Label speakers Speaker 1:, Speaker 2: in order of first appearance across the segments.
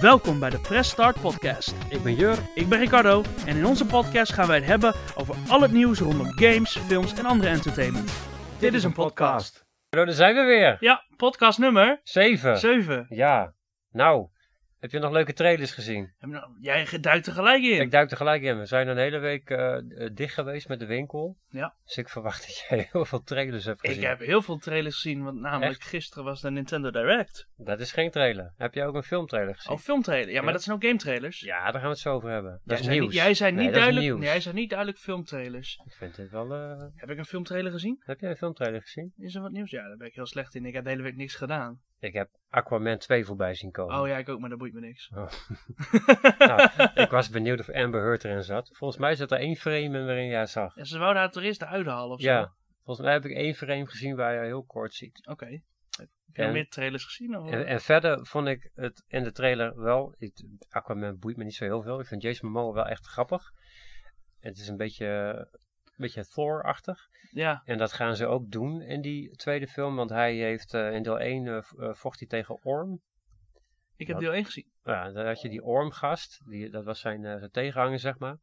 Speaker 1: Welkom bij de Press Start Podcast.
Speaker 2: Ik ben Jur.
Speaker 1: Ik ben Ricardo en in onze podcast gaan wij het hebben over al het nieuws rondom games, films en andere entertainment. Dit, is een podcast.
Speaker 2: Hallo, daar zijn we weer.
Speaker 1: Ja, podcast nummer
Speaker 2: Zeven.
Speaker 1: 7.
Speaker 2: Ja. Nou, heb je nog leuke trailers gezien?
Speaker 1: nou- Jij duikt er gelijk
Speaker 2: Ik
Speaker 1: in.
Speaker 2: duik er gelijk in. We zijn een hele week eh, eh, dicht geweest met de winkel.
Speaker 1: Ja.
Speaker 2: Dus ik verwacht dat jij heel veel trailers hebt gezien.
Speaker 1: Ik heb heel veel trailers gezien, want namelijk gisteren was de Nintendo Direct.
Speaker 2: Dat is geen trailer. Heb jij ook een filmtrailer gezien?
Speaker 1: Of filmtrailer. Ja, maar
Speaker 2: Ja.
Speaker 1: dat zijn ook game trailers.
Speaker 2: Ja, daar gaan we het zo over hebben. Dat
Speaker 1: Oh, Jij
Speaker 2: is
Speaker 1: zei
Speaker 2: nieuws.
Speaker 1: niet- Jij zei
Speaker 2: Nee,
Speaker 1: niet
Speaker 2: dat is
Speaker 1: duidelijk-
Speaker 2: nieuws.
Speaker 1: nee, jij zei niet duidelijk filmtrailers.
Speaker 2: Ik vind dit wel... eh,
Speaker 1: Heb ik een filmtrailer gezien?
Speaker 2: Heb jij een filmtrailer gezien?
Speaker 1: Is er wat nieuws? Ja, daar ben ik heel slecht in. Ik heb de hele week niks gedaan.
Speaker 2: Ik heb Aquaman 2 voorbij zien komen.
Speaker 1: Oh ja, ik ook, maar dat boeit me niks.
Speaker 2: Oh. Nou, ik was benieuwd of Amber Heard erin zat. Volgens mij zat er één frame in waarin jij zag.
Speaker 1: Ja, ze wouden haar toerist eruit halen of zo.
Speaker 2: Ja, volgens mij heb ik één frame gezien waar je haar heel kort ziet.
Speaker 1: Oké. Heb je al
Speaker 2: En-
Speaker 1: meer trailers gezien? Of?
Speaker 2: En, en verder vond ik het in de trailer wel. Ik, Aquaman boeit me niet zo heel veel. Ik vind Jason Momoa wel echt grappig. Het is een beetje, een beetje Thor-achtig.
Speaker 1: ja,
Speaker 2: En dat gaan ze ook doen in die tweede film. Want hij heeft eh, in deel 1 eh, v- eh, vocht hij tegen Orm.
Speaker 1: ik heb
Speaker 2: Wat?
Speaker 1: deel 1 gezien.
Speaker 2: Ja, daar had je die Orm-gast. Die, dat was zijn, eh, zijn tegenhanger, zeg maar.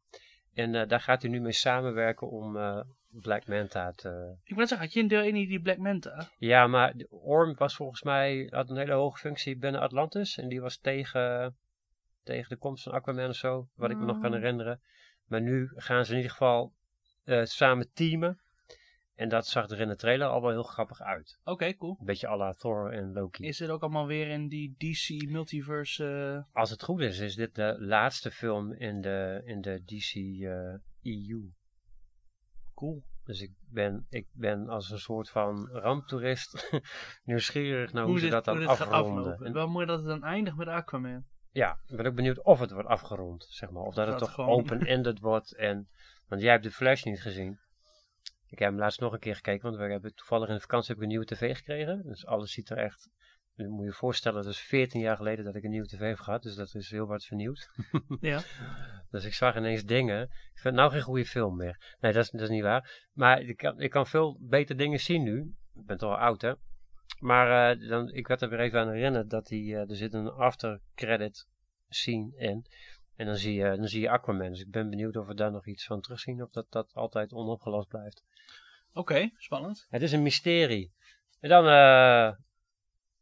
Speaker 2: En eh, daar gaat hij nu mee samenwerken om eh, Black Manta te...
Speaker 1: Ik wil net zeggen, had je in deel 1 niet die Black Manta?
Speaker 2: Ja, maar de- Orm was volgens mij... had een hele hoge functie binnen Atlantis. En die was tegen, tegen de komst van Aquaman of zo. Wat ik me nog kan
Speaker 1: Ah.
Speaker 2: herinneren. Maar nu gaan ze in ieder geval eh, samen teamen. En dat zag er in de trailer al wel heel grappig uit.
Speaker 1: Oké, cool.
Speaker 2: Een beetje à la Thor en Loki.
Speaker 1: Is dit ook allemaal weer in die DC multiverse... eh,
Speaker 2: Als het goed is, is dit de laatste film in de, in de DC eh, EU.
Speaker 1: cool.
Speaker 2: Dus ik ben, ik ben als een soort van ramptoerist nieuwsgierig naar hoe, ze
Speaker 1: dit-
Speaker 2: dat dan
Speaker 1: hoe dit gaat
Speaker 2: afronden.
Speaker 1: aflopen.
Speaker 2: En-
Speaker 1: Wel mooi dat het dan eindigt met Aquaman.
Speaker 2: ja, ik ben ook benieuwd of het wordt afgerond, zeg maar. Of dat,
Speaker 1: Dat
Speaker 2: het toch
Speaker 1: gewoon-
Speaker 2: open-ended wordt. En, want jij hebt de Flash niet gezien. Ik heb hem laatst nog een keer gekeken, want we hebben toevallig in de vakantie heb ik een nieuwe tv gekregen. Dus alles ziet er echt... Je moet je voorstellen, dat is 14 jaar geleden dat ik een nieuwe tv heb gehad. Dus dat is heel wat vernieuwd.
Speaker 1: Ja.
Speaker 2: Dus ik zag ineens dingen. Ik vind nou geen goede film meer. Nee, dat is, dat is niet waar. Maar ik kan, ik kan veel beter dingen zien nu. Ik ben toch al oud, hè? Maar eh, dan, ik werd er weer even aan herinnerd dat die, eh, er zit een aftercredit scene in. En dan zie, je, dan zie je Aquaman. Dus ik ben benieuwd of we daar nog iets van terugzien. Of dat dat altijd onopgelost blijft.
Speaker 1: Oké, spannend.
Speaker 2: Het is een mysterie. En dan eh,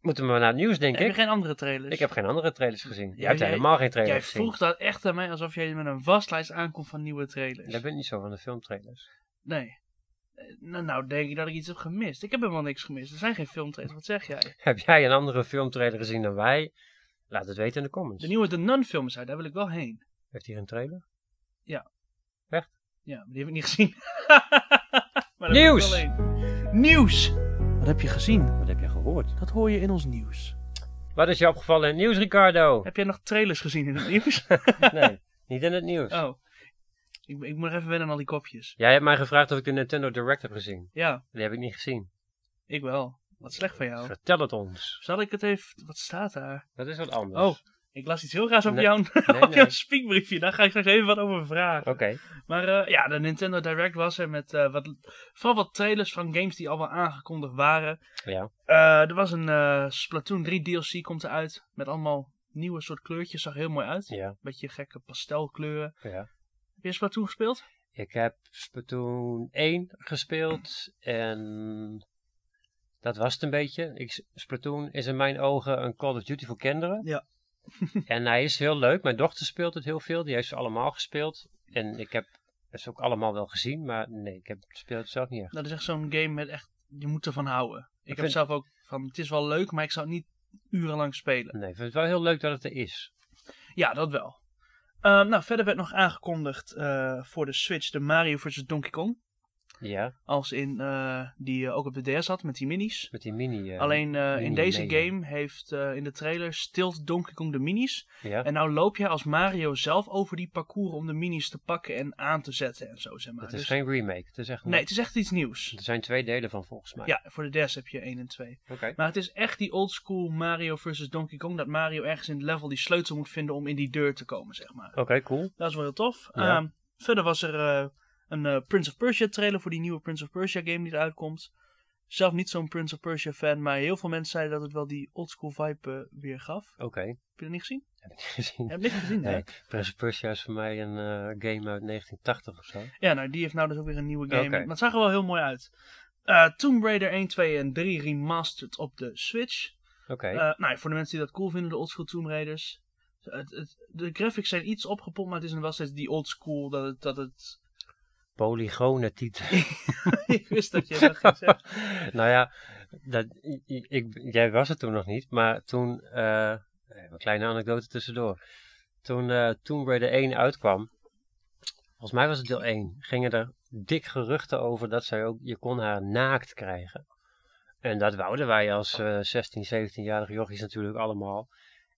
Speaker 2: moeten we maar naar het nieuws, denk
Speaker 1: heb je
Speaker 2: ik.
Speaker 1: geen andere trailers?
Speaker 2: Ik heb geen andere trailers gezien.
Speaker 1: Ja,
Speaker 2: Jij hebt
Speaker 1: jij-
Speaker 2: helemaal geen trailers
Speaker 1: Jij
Speaker 2: gezien.
Speaker 1: vroeg dat echt aan mij alsof jij met een waslijst aankomt van nieuwe trailers.
Speaker 2: Jij bent niet zo van de filmtrailers.
Speaker 1: Nee. Eh, Nou, nou denk ik dat ik iets heb gemist. Ik heb helemaal niks gemist. Er zijn geen filmtrailers. Wat zeg jij?
Speaker 2: Heb jij een andere filmtrailer gezien dan wij? Laat het weten in de comments.
Speaker 1: De nieuwe The Nun film is uit. Daar wil ik wel heen.
Speaker 2: Heeft hier een trailer?
Speaker 1: Ja, maar die heb ik niet gezien. Maar dat
Speaker 2: Nieuws!
Speaker 1: wil ik wel heen. Nieuws! Wat heb je gezien?
Speaker 2: Wat heb jij gehoord?
Speaker 1: Dat hoor je in ons nieuws.
Speaker 2: Wat is je opgevallen in het nieuws, Ricardo?
Speaker 1: Heb jij nog trailers gezien in het nieuws?
Speaker 2: nee, niet in het nieuws.
Speaker 1: oh. Ik, ik moet nog even wennen aan al die kopjes.
Speaker 2: Jij hebt mij gevraagd of ik de Nintendo Direct heb gezien.
Speaker 1: Ja,
Speaker 2: Die heb ik niet gezien.
Speaker 1: ik wel. Wat slecht van jou.
Speaker 2: Vertel het ons.
Speaker 1: Zal ik het even... Wat staat daar?
Speaker 2: Dat is wat anders.
Speaker 1: Oh, ik las iets heel raars op
Speaker 2: Nee,
Speaker 1: jouw,
Speaker 2: nee,
Speaker 1: op jouw
Speaker 2: nee.
Speaker 1: speakbriefje. Daar ga ik straks even wat over vragen.
Speaker 2: Oké.
Speaker 1: Maar eh, ja, de Nintendo Direct was er met eh, wat, vooral wat trailers van games die al wel aangekondigd waren.
Speaker 2: Ja.
Speaker 1: Eh, er was een eh, Splatoon 3 DLC komt eruit. Met allemaal nieuwe soort kleurtjes. Zag heel mooi uit.
Speaker 2: Ja.
Speaker 1: Beetje gekke pastelkleuren.
Speaker 2: ja.
Speaker 1: Heb je Splatoon gespeeld?
Speaker 2: Ik heb Splatoon 1 gespeeld en dat was het een beetje. Ik, Splatoon is in mijn ogen een Call of Duty voor kinderen.
Speaker 1: Ja.
Speaker 2: en hij is heel leuk. Mijn dochter speelt het heel veel. Die heeft ze allemaal gespeeld. En ik heb ze ook allemaal wel gezien, maar nee, ik heb, speel het zelf niet echt.
Speaker 1: Dat is echt zo'n game met echt... Je moet ervan houden. Ik heb
Speaker 2: vind-
Speaker 1: zelf ook van... Het is wel leuk, maar ik zou het niet urenlang spelen.
Speaker 2: Nee, ik vind het wel heel leuk dat het er is.
Speaker 1: Ja, dat wel. Ehm, nou, verder werd nog aangekondigd eh, voor de Switch de Mario vs. Donkey Kong.
Speaker 2: Ja,
Speaker 1: Als in eh, die eh, ook op de DS had met die minis.
Speaker 2: met die mini. eh,
Speaker 1: Alleen eh, in
Speaker 2: mini
Speaker 1: deze
Speaker 2: Mega.
Speaker 1: game heeft eh, in de trailer stilt Donkey Kong de minis.
Speaker 2: Ja,
Speaker 1: En nou loop jij als Mario zelf over die parcours om de minis te pakken en aan te zetten en zo, zeg maar.
Speaker 2: het is
Speaker 1: Dus-
Speaker 2: geen remake. Het is echt een-
Speaker 1: Nee, het is echt iets nieuws.
Speaker 2: Er zijn twee delen van volgens mij.
Speaker 1: Ja, voor de DS heb je 1 en 2.
Speaker 2: Oké.
Speaker 1: Maar het is echt die oldschool Mario versus Donkey Kong. Dat Mario ergens in het level die sleutel moet vinden om in die deur te komen, zeg maar.
Speaker 2: Oké, cool.
Speaker 1: Dat is wel heel tof.
Speaker 2: Ja.
Speaker 1: Ehm, verder was er eh, een eh, Prince of Persia trailer voor die nieuwe Prince of Persia game die eruit komt. Zelf niet zo'n Prince of Persia fan, maar heel veel mensen zeiden dat het wel die oldschool vibe eh, weer gaf.
Speaker 2: Oké.
Speaker 1: Heb je dat niet gezien?
Speaker 2: Heb ik niet gezien.
Speaker 1: Heb niks gezien, hè?
Speaker 2: Nee. Prince of Persia is voor mij een eh, game uit 1980 of zo.
Speaker 1: Ja, nou, die heeft nou dus ook weer een nieuwe game.
Speaker 2: Oké.
Speaker 1: Maar het zag er wel heel mooi uit. Eh, Tomb Raider 1, 2 en 3 remastered op de Switch.
Speaker 2: Oké.
Speaker 1: Eh, nou, voor de mensen die dat cool vinden, de oldschool Tomb Raiders. Eh, Het, het- de graphics zijn iets opgepompt, maar het is wel steeds die oldschool dat het... Dat het...
Speaker 2: Polygonen titel.
Speaker 1: ik wist dat je dat ging zeggen.
Speaker 2: nou ja, dat, i- i- ik, jij was er toen nog niet, maar toen, eh, een kleine anekdote tussendoor. Toen eh Tomb Raider 1 uitkwam, volgens mij was het deel 1, gingen er dik geruchten over dat zij ook, je kon haar naakt krijgen. En dat wouden wij als eh 16, 17-jarige jochies natuurlijk allemaal.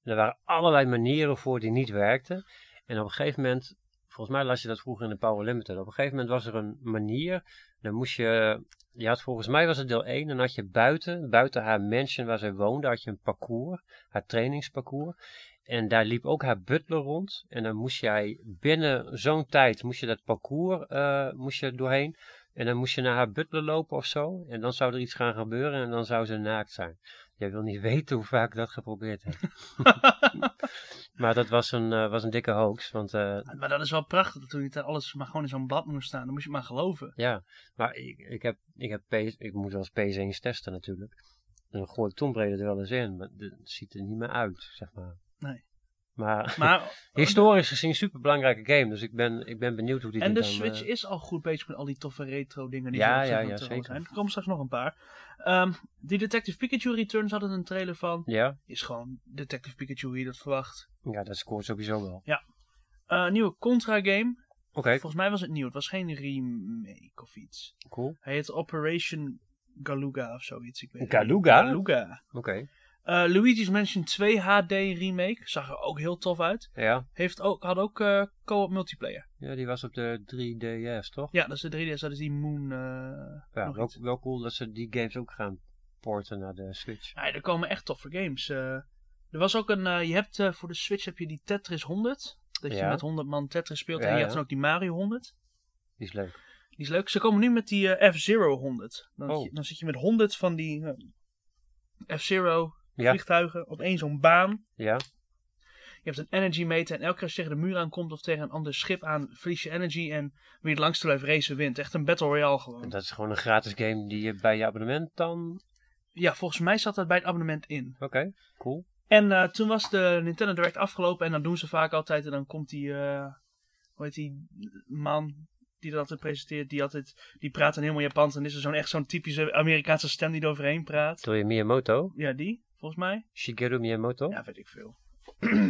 Speaker 2: En er waren allerlei manieren voor die niet werkten. En op een gegeven moment, volgens mij las je dat vroeger in de Power Limited, op een gegeven moment was er een manier, dan moest je je had volgens mij was het deel 1. Dan had je buiten, buiten haar mansion waar zij woonde, had je een parcours, haar trainingsparcours. En daar liep ook haar butler rond. En dan moest jij binnen zo'n tijd, moest je dat parcours eh, moest je doorheen. En dan moest je naar haar butler lopen of zo. En dan zou er iets gaan gebeuren en dan zou ze naakt zijn. Jij wil niet weten hoe vaak ik dat geprobeerd heb. maar dat was een, eh, was een dikke hoax. Want eh,
Speaker 1: maar dat is wel prachtig, dat toen niet alles maar gewoon in zo'n blad moest staan. Dan moest je het maar geloven.
Speaker 2: Ja, maar ik, ik heb, ik heb PS, ik moet wel eens PS eens testen natuurlijk. En dan gooi ik Tomb Raider er wel eens in, maar het ziet er niet meer uit, zeg maar.
Speaker 1: Nee.
Speaker 2: Maar,
Speaker 1: Maar,
Speaker 2: historisch gezien een superbelangrijke game, dus ik ben, ik ben benieuwd hoe die
Speaker 1: en
Speaker 2: er
Speaker 1: de
Speaker 2: dan, eh,
Speaker 1: Switch is al goed bezig met al die toffe retro dingen die
Speaker 2: Ja,
Speaker 1: er op zich
Speaker 2: ja,
Speaker 1: aan
Speaker 2: ja,
Speaker 1: het rollen
Speaker 2: zeker.
Speaker 1: zijn. Er komen straks nog een paar. Ehm, die Detective Pikachu Returns hadden een trailer van.
Speaker 2: ja?
Speaker 1: Is gewoon Detective Pikachu wie je dat verwacht.
Speaker 2: ja, dat scoort sowieso wel. Oké,
Speaker 1: Eh, nieuwe Contra game. Volgens mij was het nieuw. Het was geen remake of iets.
Speaker 2: cool.
Speaker 1: Hij heet Operation Galuga of zoiets. Ik weet het niet.
Speaker 2: Galuga?
Speaker 1: Galuga.
Speaker 2: Oké,
Speaker 1: Eh, Luigi's Mansion 2 HD remake. Zag er ook heel tof uit.
Speaker 2: ja.
Speaker 1: Heeft ook, had ook eh, co-op multiplayer.
Speaker 2: Ja, die was op de 3DS, toch?
Speaker 1: Ja, dat is de 3DS. Dat is die Moon... eh,
Speaker 2: Ja,
Speaker 1: nog
Speaker 2: wel,
Speaker 1: iets.
Speaker 2: wel cool dat ze die games ook gaan porten naar de Switch.
Speaker 1: Nee, er komen echt toffe games. Eh, er was ook een, eh, je hebt eh, voor de Switch heb je die Tetris 100. Dat je
Speaker 2: Ja.
Speaker 1: met 100 man Tetris speelt.
Speaker 2: Ja,
Speaker 1: en je
Speaker 2: ja.
Speaker 1: hebt dan ook die Mario 100.
Speaker 2: Die is leuk.
Speaker 1: Die is leuk. Ze komen nu met die eh, F-Zero 100. Dan,
Speaker 2: Oh.
Speaker 1: dan zit je met 100 van die eh, F-Zero
Speaker 2: Ja.
Speaker 1: vliegtuigen op één zo'n baan.
Speaker 2: Ja,
Speaker 1: Je hebt een energy meter en elke keer als je tegen de muur aankomt of tegen een ander schip aan, verlies je energy. En wie het langst blijft racen wint. Echt een Battle Royale
Speaker 2: en
Speaker 1: gewoon.
Speaker 2: dat is gewoon een gratis game die je bij je abonnement dan...
Speaker 1: Ja, volgens mij zat dat bij het abonnement in.
Speaker 2: Oké, cool.
Speaker 1: En eh, toen was de Nintendo Direct afgelopen en dan doen ze vaak altijd en dan komt die, eh, hoe heet die man die dat altijd presenteert, die altijd, die praat in helemaal Japans en is er zo'n echt zo'n typische Amerikaanse stem die er overheen praat.
Speaker 2: Door je Miyamoto.
Speaker 1: Ja, die, volgens mij.
Speaker 2: Shigeru Miyamoto?
Speaker 1: Ja, weet ik veel.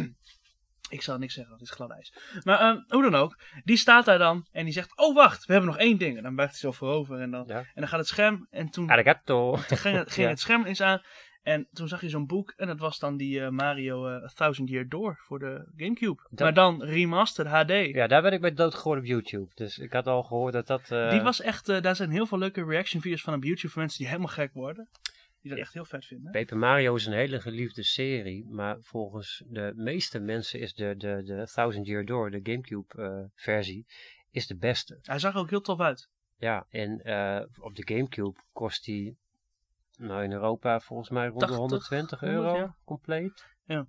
Speaker 1: ik zal niks zeggen, dat is glad ijs. Maar eh, hoe dan ook, die staat daar dan en die zegt, oh wacht, we hebben nog één ding. En dan buigt hij zo voorover en dan,
Speaker 2: Ja.
Speaker 1: en dan gaat het scherm en toen
Speaker 2: Arigato.
Speaker 1: toen ging, het- ging
Speaker 2: Ja.
Speaker 1: het scherm eens aan. En toen zag je zo'n boek. En dat was dan die eh, Mario eh, A Thousand Year Door voor de Gamecube.
Speaker 2: Dat-
Speaker 1: Maar dan remastered HD.
Speaker 2: Ja, daar ben ik bij dood geworden op YouTube. Dus ik had al gehoord dat dat... eh,
Speaker 1: Die was echt, eh, daar zijn heel veel leuke reaction video's van op YouTube voor mensen die helemaal gek worden. Die dat echt heel vet vinden.
Speaker 2: Paper Mario is een hele geliefde serie, maar volgens de meeste mensen is de, de, de Thousand Year Door, de Gamecube eh, versie, is de beste.
Speaker 1: Hij zag er ook heel tof uit.
Speaker 2: Ja, en eh, op de Gamecube kost die, nou in Europa volgens mij rond
Speaker 1: 80,
Speaker 2: de 120 euro
Speaker 1: 100, ja.
Speaker 2: compleet.
Speaker 1: Ja.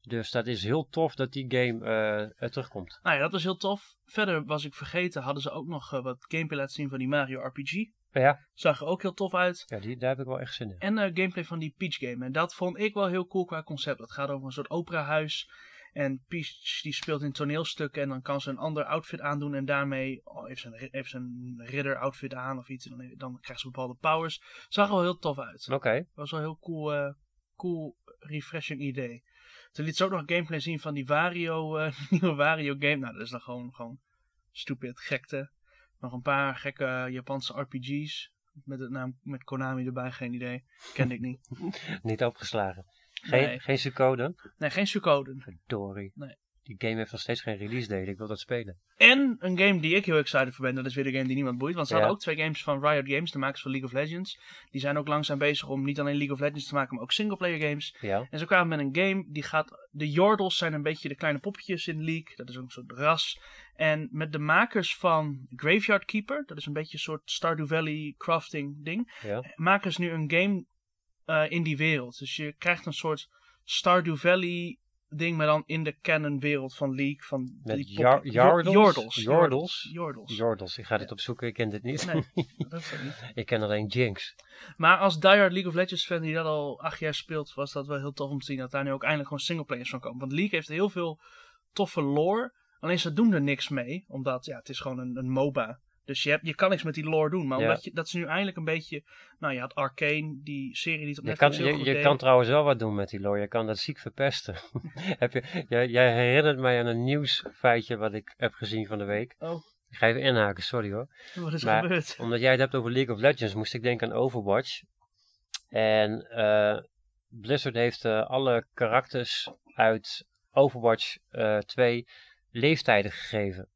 Speaker 2: Dus dat is heel tof dat die game eh, er terugkomt.
Speaker 1: Nou ja, dat was heel tof. Verder was ik vergeten, hadden ze ook nog eh, wat gameplay laten zien van die Mario RPG.
Speaker 2: Ja,
Speaker 1: Zag er ook heel tof uit.
Speaker 2: ja die, daar heb ik wel echt zin in.
Speaker 1: En eh, gameplay van die Peach game. En dat vond ik wel heel cool qua concept. Het gaat over een soort operahuis. En Peach die speelt in toneelstukken. En dan kan ze een ander outfit aandoen. En daarmee oh, heeft ze een, ri- heeft ze een ridder outfit aan of iets. En dan, dan krijgt ze bepaalde powers. Zag er wel heel tof uit.
Speaker 2: Oké,
Speaker 1: Was wel een heel cool, eh, cool refreshing idee. Toen liet ze ook nog gameplay zien van die Wario, eh, nieuwe Wario game. Nou, dat is dan gewoon, gewoon stupid gekte. Nog een paar gekke Japanse RPG's. Met het naam met Konami erbij, geen idee. Kende ik niet.
Speaker 2: niet opgeslagen. Geen,
Speaker 1: Nee.
Speaker 2: geen subcode?
Speaker 1: Nee, geen Suikoden.
Speaker 2: Verdorie.
Speaker 1: Nee.
Speaker 2: Die game heeft nog steeds geen release date. Ik wil dat spelen.
Speaker 1: En een game die ik heel excited voor ben, dat is weer de game die niemand boeit. Want ze
Speaker 2: Ja.
Speaker 1: hadden ook twee games van Riot Games, de makers van League of Legends. Die zijn ook langzaam bezig om niet alleen League of Legends te maken, maar ook singleplayer games.
Speaker 2: Ja.
Speaker 1: En ze kwamen met een game die gaat. De Jordles zijn een beetje de kleine poppetjes in League. Dat is ook een soort ras. En met de makers van Graveyard Keeper, dat is een beetje een soort Stardew Valley crafting ding,
Speaker 2: ja.
Speaker 1: maken eh, ze nu een game eh, in die wereld. Dus je krijgt een soort Stardew Valley ding, maar dan in de canon wereld van League. Van
Speaker 2: Met
Speaker 1: die
Speaker 2: Jar-
Speaker 1: poppen-
Speaker 2: Jordles?
Speaker 1: Jordles.
Speaker 2: Jordles?
Speaker 1: Jordles.
Speaker 2: Jordles, ik ga dit opzoeken, ik ken dit niet.
Speaker 1: eh, Nee, dat is dat niet.
Speaker 2: ik ken alleen Jinx.
Speaker 1: Maar als diehard League of Legends fan die dat al acht jaar speelt, was dat wel heel tof om te zien dat daar nu ook eindelijk gewoon singleplayers van komen. Want League heeft heel veel toffe lore, alleen ze doen er niks mee, omdat ja, het is gewoon een, een MOBA. Dus je, hebt, je kan niks met die lore doen, maar
Speaker 2: Ja.
Speaker 1: omdat je, dat ze nu eindelijk een beetje... Nou, je had Arcane, die serie die het op
Speaker 2: Je kan,
Speaker 1: Netflix heel
Speaker 2: je,
Speaker 1: goed
Speaker 2: je
Speaker 1: deed.
Speaker 2: kan trouwens wel wat doen met die lore, je kan dat ziek verpesten. heb je, jij, jij herinnert mij aan een nieuwsfeitje wat ik heb gezien van de week.
Speaker 1: Oh,
Speaker 2: Ik ga even inhaken, sorry hoor.
Speaker 1: wat is er
Speaker 2: Maar-
Speaker 1: gebeurd?
Speaker 2: Omdat jij het hebt over League of Legends, moest ik denken aan Overwatch. En eh, Blizzard heeft eh, alle karakters uit Overwatch eh 2 leeftijden gegeven.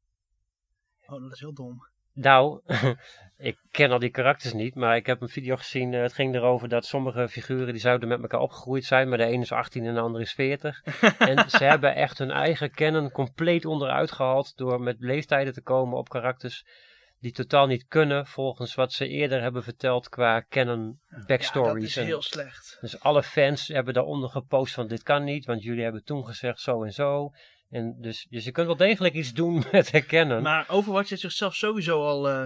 Speaker 1: Oh, dat is heel dom.
Speaker 2: Nou, ik ken al die karakters niet, maar ik heb een video gezien. eh, het ging erover dat sommige figuren die zouden met elkaar opgegroeid zijn, maar de ene is 18 en de andere is 40. en ze hebben echt hun eigen canon compleet onderuit gehaald door met leeftijden te komen op karakters die totaal niet kunnen volgens wat ze eerder hebben verteld qua canon
Speaker 1: Ja, dat
Speaker 2: backstories.
Speaker 1: is
Speaker 2: En
Speaker 1: heel slecht.
Speaker 2: dus alle fans hebben daaronder gepost van dit kan niet, want jullie hebben toen gezegd zo en zo. En dus, dus je kunt wel degelijk iets doen met herkennen.
Speaker 1: Maar Overwatch heeft zichzelf sowieso al eh,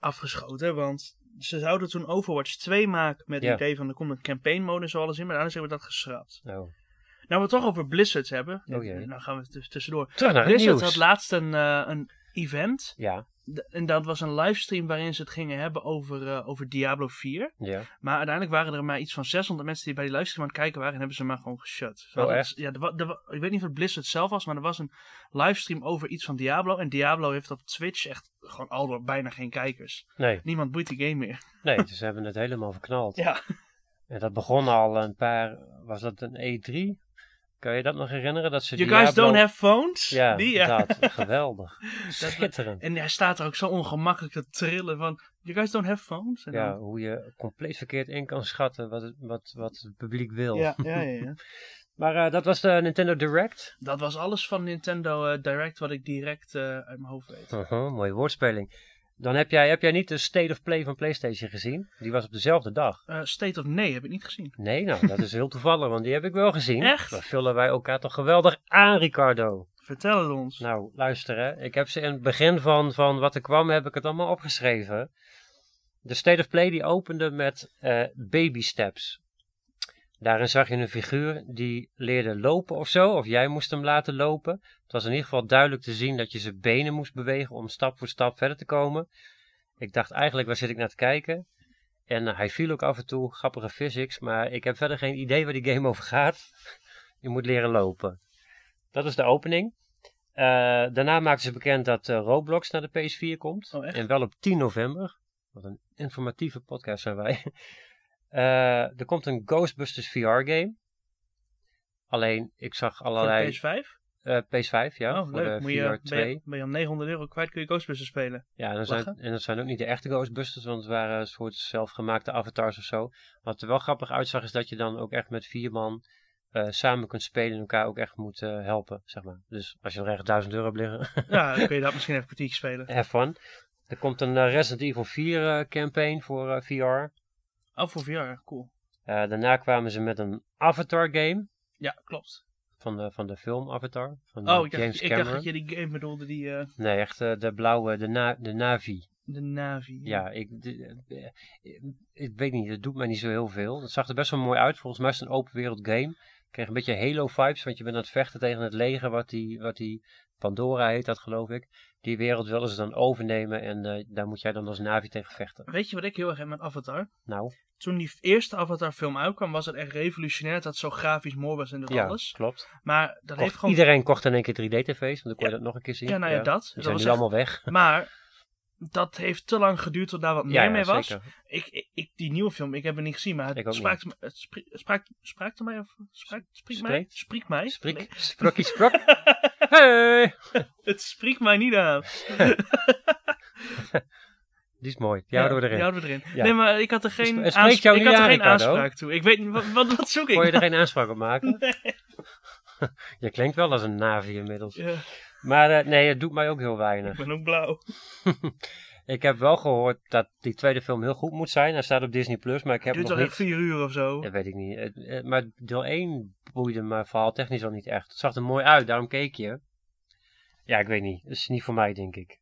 Speaker 1: afgeschoten. Want ze zouden toen Overwatch 2 maken met
Speaker 2: Ja.
Speaker 1: het idee van er komt een campaign mode en zo alles in. Maar daarna hebben we dat geschrapt.
Speaker 2: Nou,
Speaker 1: Nou, we het toch over Blizzard hebben.
Speaker 2: Oh jee.
Speaker 1: nou gaan we tuss- tussendoor.
Speaker 2: terug naar het
Speaker 1: Blizzard
Speaker 2: nieuws.
Speaker 1: had laatst een, eh, een event.
Speaker 2: Ja,
Speaker 1: D- En dat was een livestream waarin ze het gingen hebben over, eh, over Diablo 4.
Speaker 2: ja.
Speaker 1: Maar uiteindelijk waren er maar iets van 600 mensen die bij die livestream aan het kijken waren. En hebben ze maar gewoon geshut. Ze hadden-
Speaker 2: Oh, echt?
Speaker 1: Ja, er wa- er wa- ik weet niet of het Blizzard zelf was. Maar er was een livestream over iets van Diablo. En Diablo heeft op Twitch echt gewoon al door bijna geen kijkers.
Speaker 2: Nee,
Speaker 1: Niemand boeit die game meer.
Speaker 2: nee, ze hebben het helemaal verknald.
Speaker 1: Ja.
Speaker 2: En dat begon al een paar, was dat een E3? Kan je dat nog herinneren? Dat ze
Speaker 1: You
Speaker 2: Diablo-
Speaker 1: guys don't have phones?
Speaker 2: Ja,
Speaker 1: Die, ja.
Speaker 2: dat. Geweldig. Schitterend.
Speaker 1: En hij staat er ook zo ongemakkelijk te trillen van... You guys don't have phones? En
Speaker 2: Ja,
Speaker 1: dan-
Speaker 2: hoe je compleet verkeerd in kan schatten wat het, wat, wat het publiek wil.
Speaker 1: ja, ja, ja, ja.
Speaker 2: Maar eh, dat was de Nintendo Direct.
Speaker 1: Dat was alles van Nintendo eh, Direct wat ik direct eh, uit mijn hoofd weet.
Speaker 2: Aha, mooie woordspeling. Dan heb jij, heb jij niet de State of Play van PlayStation gezien? Die was op dezelfde dag.
Speaker 1: Eh, State of Nee heb ik niet gezien.
Speaker 2: Nee, nou, dat is heel toevallig, want die heb ik wel gezien.
Speaker 1: Echt?
Speaker 2: Daar vullen wij elkaar toch geweldig aan, Ricardo.
Speaker 1: Vertel het ons.
Speaker 2: Nou, luister hè. Ik heb ze in het begin van, van wat er kwam, heb ik het allemaal opgeschreven. De State of Play die opende met eh, Baby Steps. Daarin zag je een figuur die leerde lopen of zo, of jij moest hem laten lopen. Het was in ieder geval duidelijk te zien dat je zijn benen moest bewegen om stap voor stap verder te komen. Ik dacht eigenlijk, waar zit ik naar te kijken? En eh, hij viel ook af en toe, grappige physics, maar ik heb verder geen idee waar die game over gaat. Je moet leren lopen. Dat is de opening. Eh, daarna maakten ze bekend dat eh, Roblox naar de PS4 komt.
Speaker 1: Oh, echt?
Speaker 2: en wel op 10 november. Wat een informatieve podcast zijn wij. Eh, er komt een Ghostbusters VR game. Alleen, ik zag
Speaker 1: Voor
Speaker 2: allerlei...
Speaker 1: de PS5?
Speaker 2: Eh, PS5, ja.
Speaker 1: oh,
Speaker 2: voor eh,
Speaker 1: leuk.
Speaker 2: de
Speaker 1: Moet je,
Speaker 2: VR2.
Speaker 1: ben, je, ben je om 900 euro kwijt, kun je Ghostbusters spelen.
Speaker 2: ja, en dat, zijn,
Speaker 1: lachen?
Speaker 2: en dat zijn ook niet de echte Ghostbusters, want het waren een soort zelfgemaakte avatars of zo. Wat er wel grappig uitzag, is dat je dan ook echt met vier man eh, samen kunt spelen en elkaar ook echt moet eh, helpen, zeg maar. Dus als je er echt 1000 euro hebt liggen,
Speaker 1: Ja, dan kun je dat misschien even een kwartiertje spelen.
Speaker 2: have fun. Er komt een eh, Resident Evil 4 eh, campaign voor eh, VR. Eh,
Speaker 1: Oh, voor VR, cool.
Speaker 2: daarna kwamen ze met een Avatar game
Speaker 1: Ja, klopt.
Speaker 2: van de, van de film Avatar, van eh,
Speaker 1: Oh, ik dacht,
Speaker 2: James
Speaker 1: ik dacht
Speaker 2: Cameron.
Speaker 1: dat je die game bedoelde, die eh,
Speaker 2: Nee, echt eh, de blauwe, de, na, de Navi.
Speaker 1: de Navi.
Speaker 2: Ja, ik, de- eh, eh, ik weet niet, dat doet mij niet zo heel veel. Het zag er best wel mooi uit. Volgens mij is het een open wereld game. Ik kreeg een beetje Halo vibes, want je bent aan het vechten tegen het leger, wat die, wat die Pandora heet dat geloof ik. Die wereld willen ze dan overnemen en eh, daar moet jij dan als Navi tegen vechten.
Speaker 1: Weet je wat ik heel erg heb met Avatar?
Speaker 2: Nou,
Speaker 1: Toen die eerste Avatar film uitkwam, was het echt revolutionair dat het zo grafisch mooi was en dat
Speaker 2: ja,
Speaker 1: alles.
Speaker 2: klopt.
Speaker 1: Maar dat
Speaker 2: Kocht-
Speaker 1: heeft gewoon...
Speaker 2: Iedereen kocht in één keer 3D-tv's, want dan kon je dat nog een keer zien.
Speaker 1: Ja, nou ja, dat.
Speaker 2: Die
Speaker 1: dat
Speaker 2: zijn
Speaker 1: was
Speaker 2: nu
Speaker 1: echt-
Speaker 2: allemaal weg.
Speaker 1: Maar dat heeft te lang geduurd tot daar wat meer
Speaker 2: ja, ja,
Speaker 1: mee was.
Speaker 2: zeker.
Speaker 1: Ik, ik, ik- die nieuwe film, ik heb hem niet gezien, maar
Speaker 2: Ik ook
Speaker 1: het spraakt, me- het spri- spraakt, spraakt mij of spraakt, spreekt mij?
Speaker 2: Spreekt?
Speaker 1: Spreekt mij?
Speaker 2: Sprik,
Speaker 1: Nee,
Speaker 2: sprokkie, sprok. Hey!
Speaker 1: Het spreekt mij niet aan.
Speaker 2: Die is mooi. Jou door erin.
Speaker 1: Die houden we erin.
Speaker 2: Ja.
Speaker 1: Nee, maar ik had er
Speaker 2: Het
Speaker 1: geen,
Speaker 2: spreekt
Speaker 1: aansp-
Speaker 2: jou
Speaker 1: ik
Speaker 2: niet
Speaker 1: had er
Speaker 2: aan,
Speaker 1: geen
Speaker 2: Ricardo.
Speaker 1: aanspraak toe. Ik weet niet, wat, wat, wat zoek ik?
Speaker 2: Kon je er geen aanspraak op maken?
Speaker 1: Nee.
Speaker 2: Je klinkt wel als een navi inmiddels.
Speaker 1: Ja,
Speaker 2: Maar eh, nee, het doet mij ook heel weinig.
Speaker 1: ik ben ook blauw.
Speaker 2: Ik heb wel gehoord dat die tweede film heel goed moet zijn. Hij staat op Disney Plus, maar ik heb
Speaker 1: duurt
Speaker 2: nog
Speaker 1: toch echt
Speaker 2: niet.
Speaker 1: vier uur of zo?
Speaker 2: Dat weet ik niet. Het- eh, Maar deel 1 boeide me verhaal technisch al niet echt. Het zag er mooi uit, daarom keek je. Ja, ik weet niet. Het is niet voor mij, denk ik.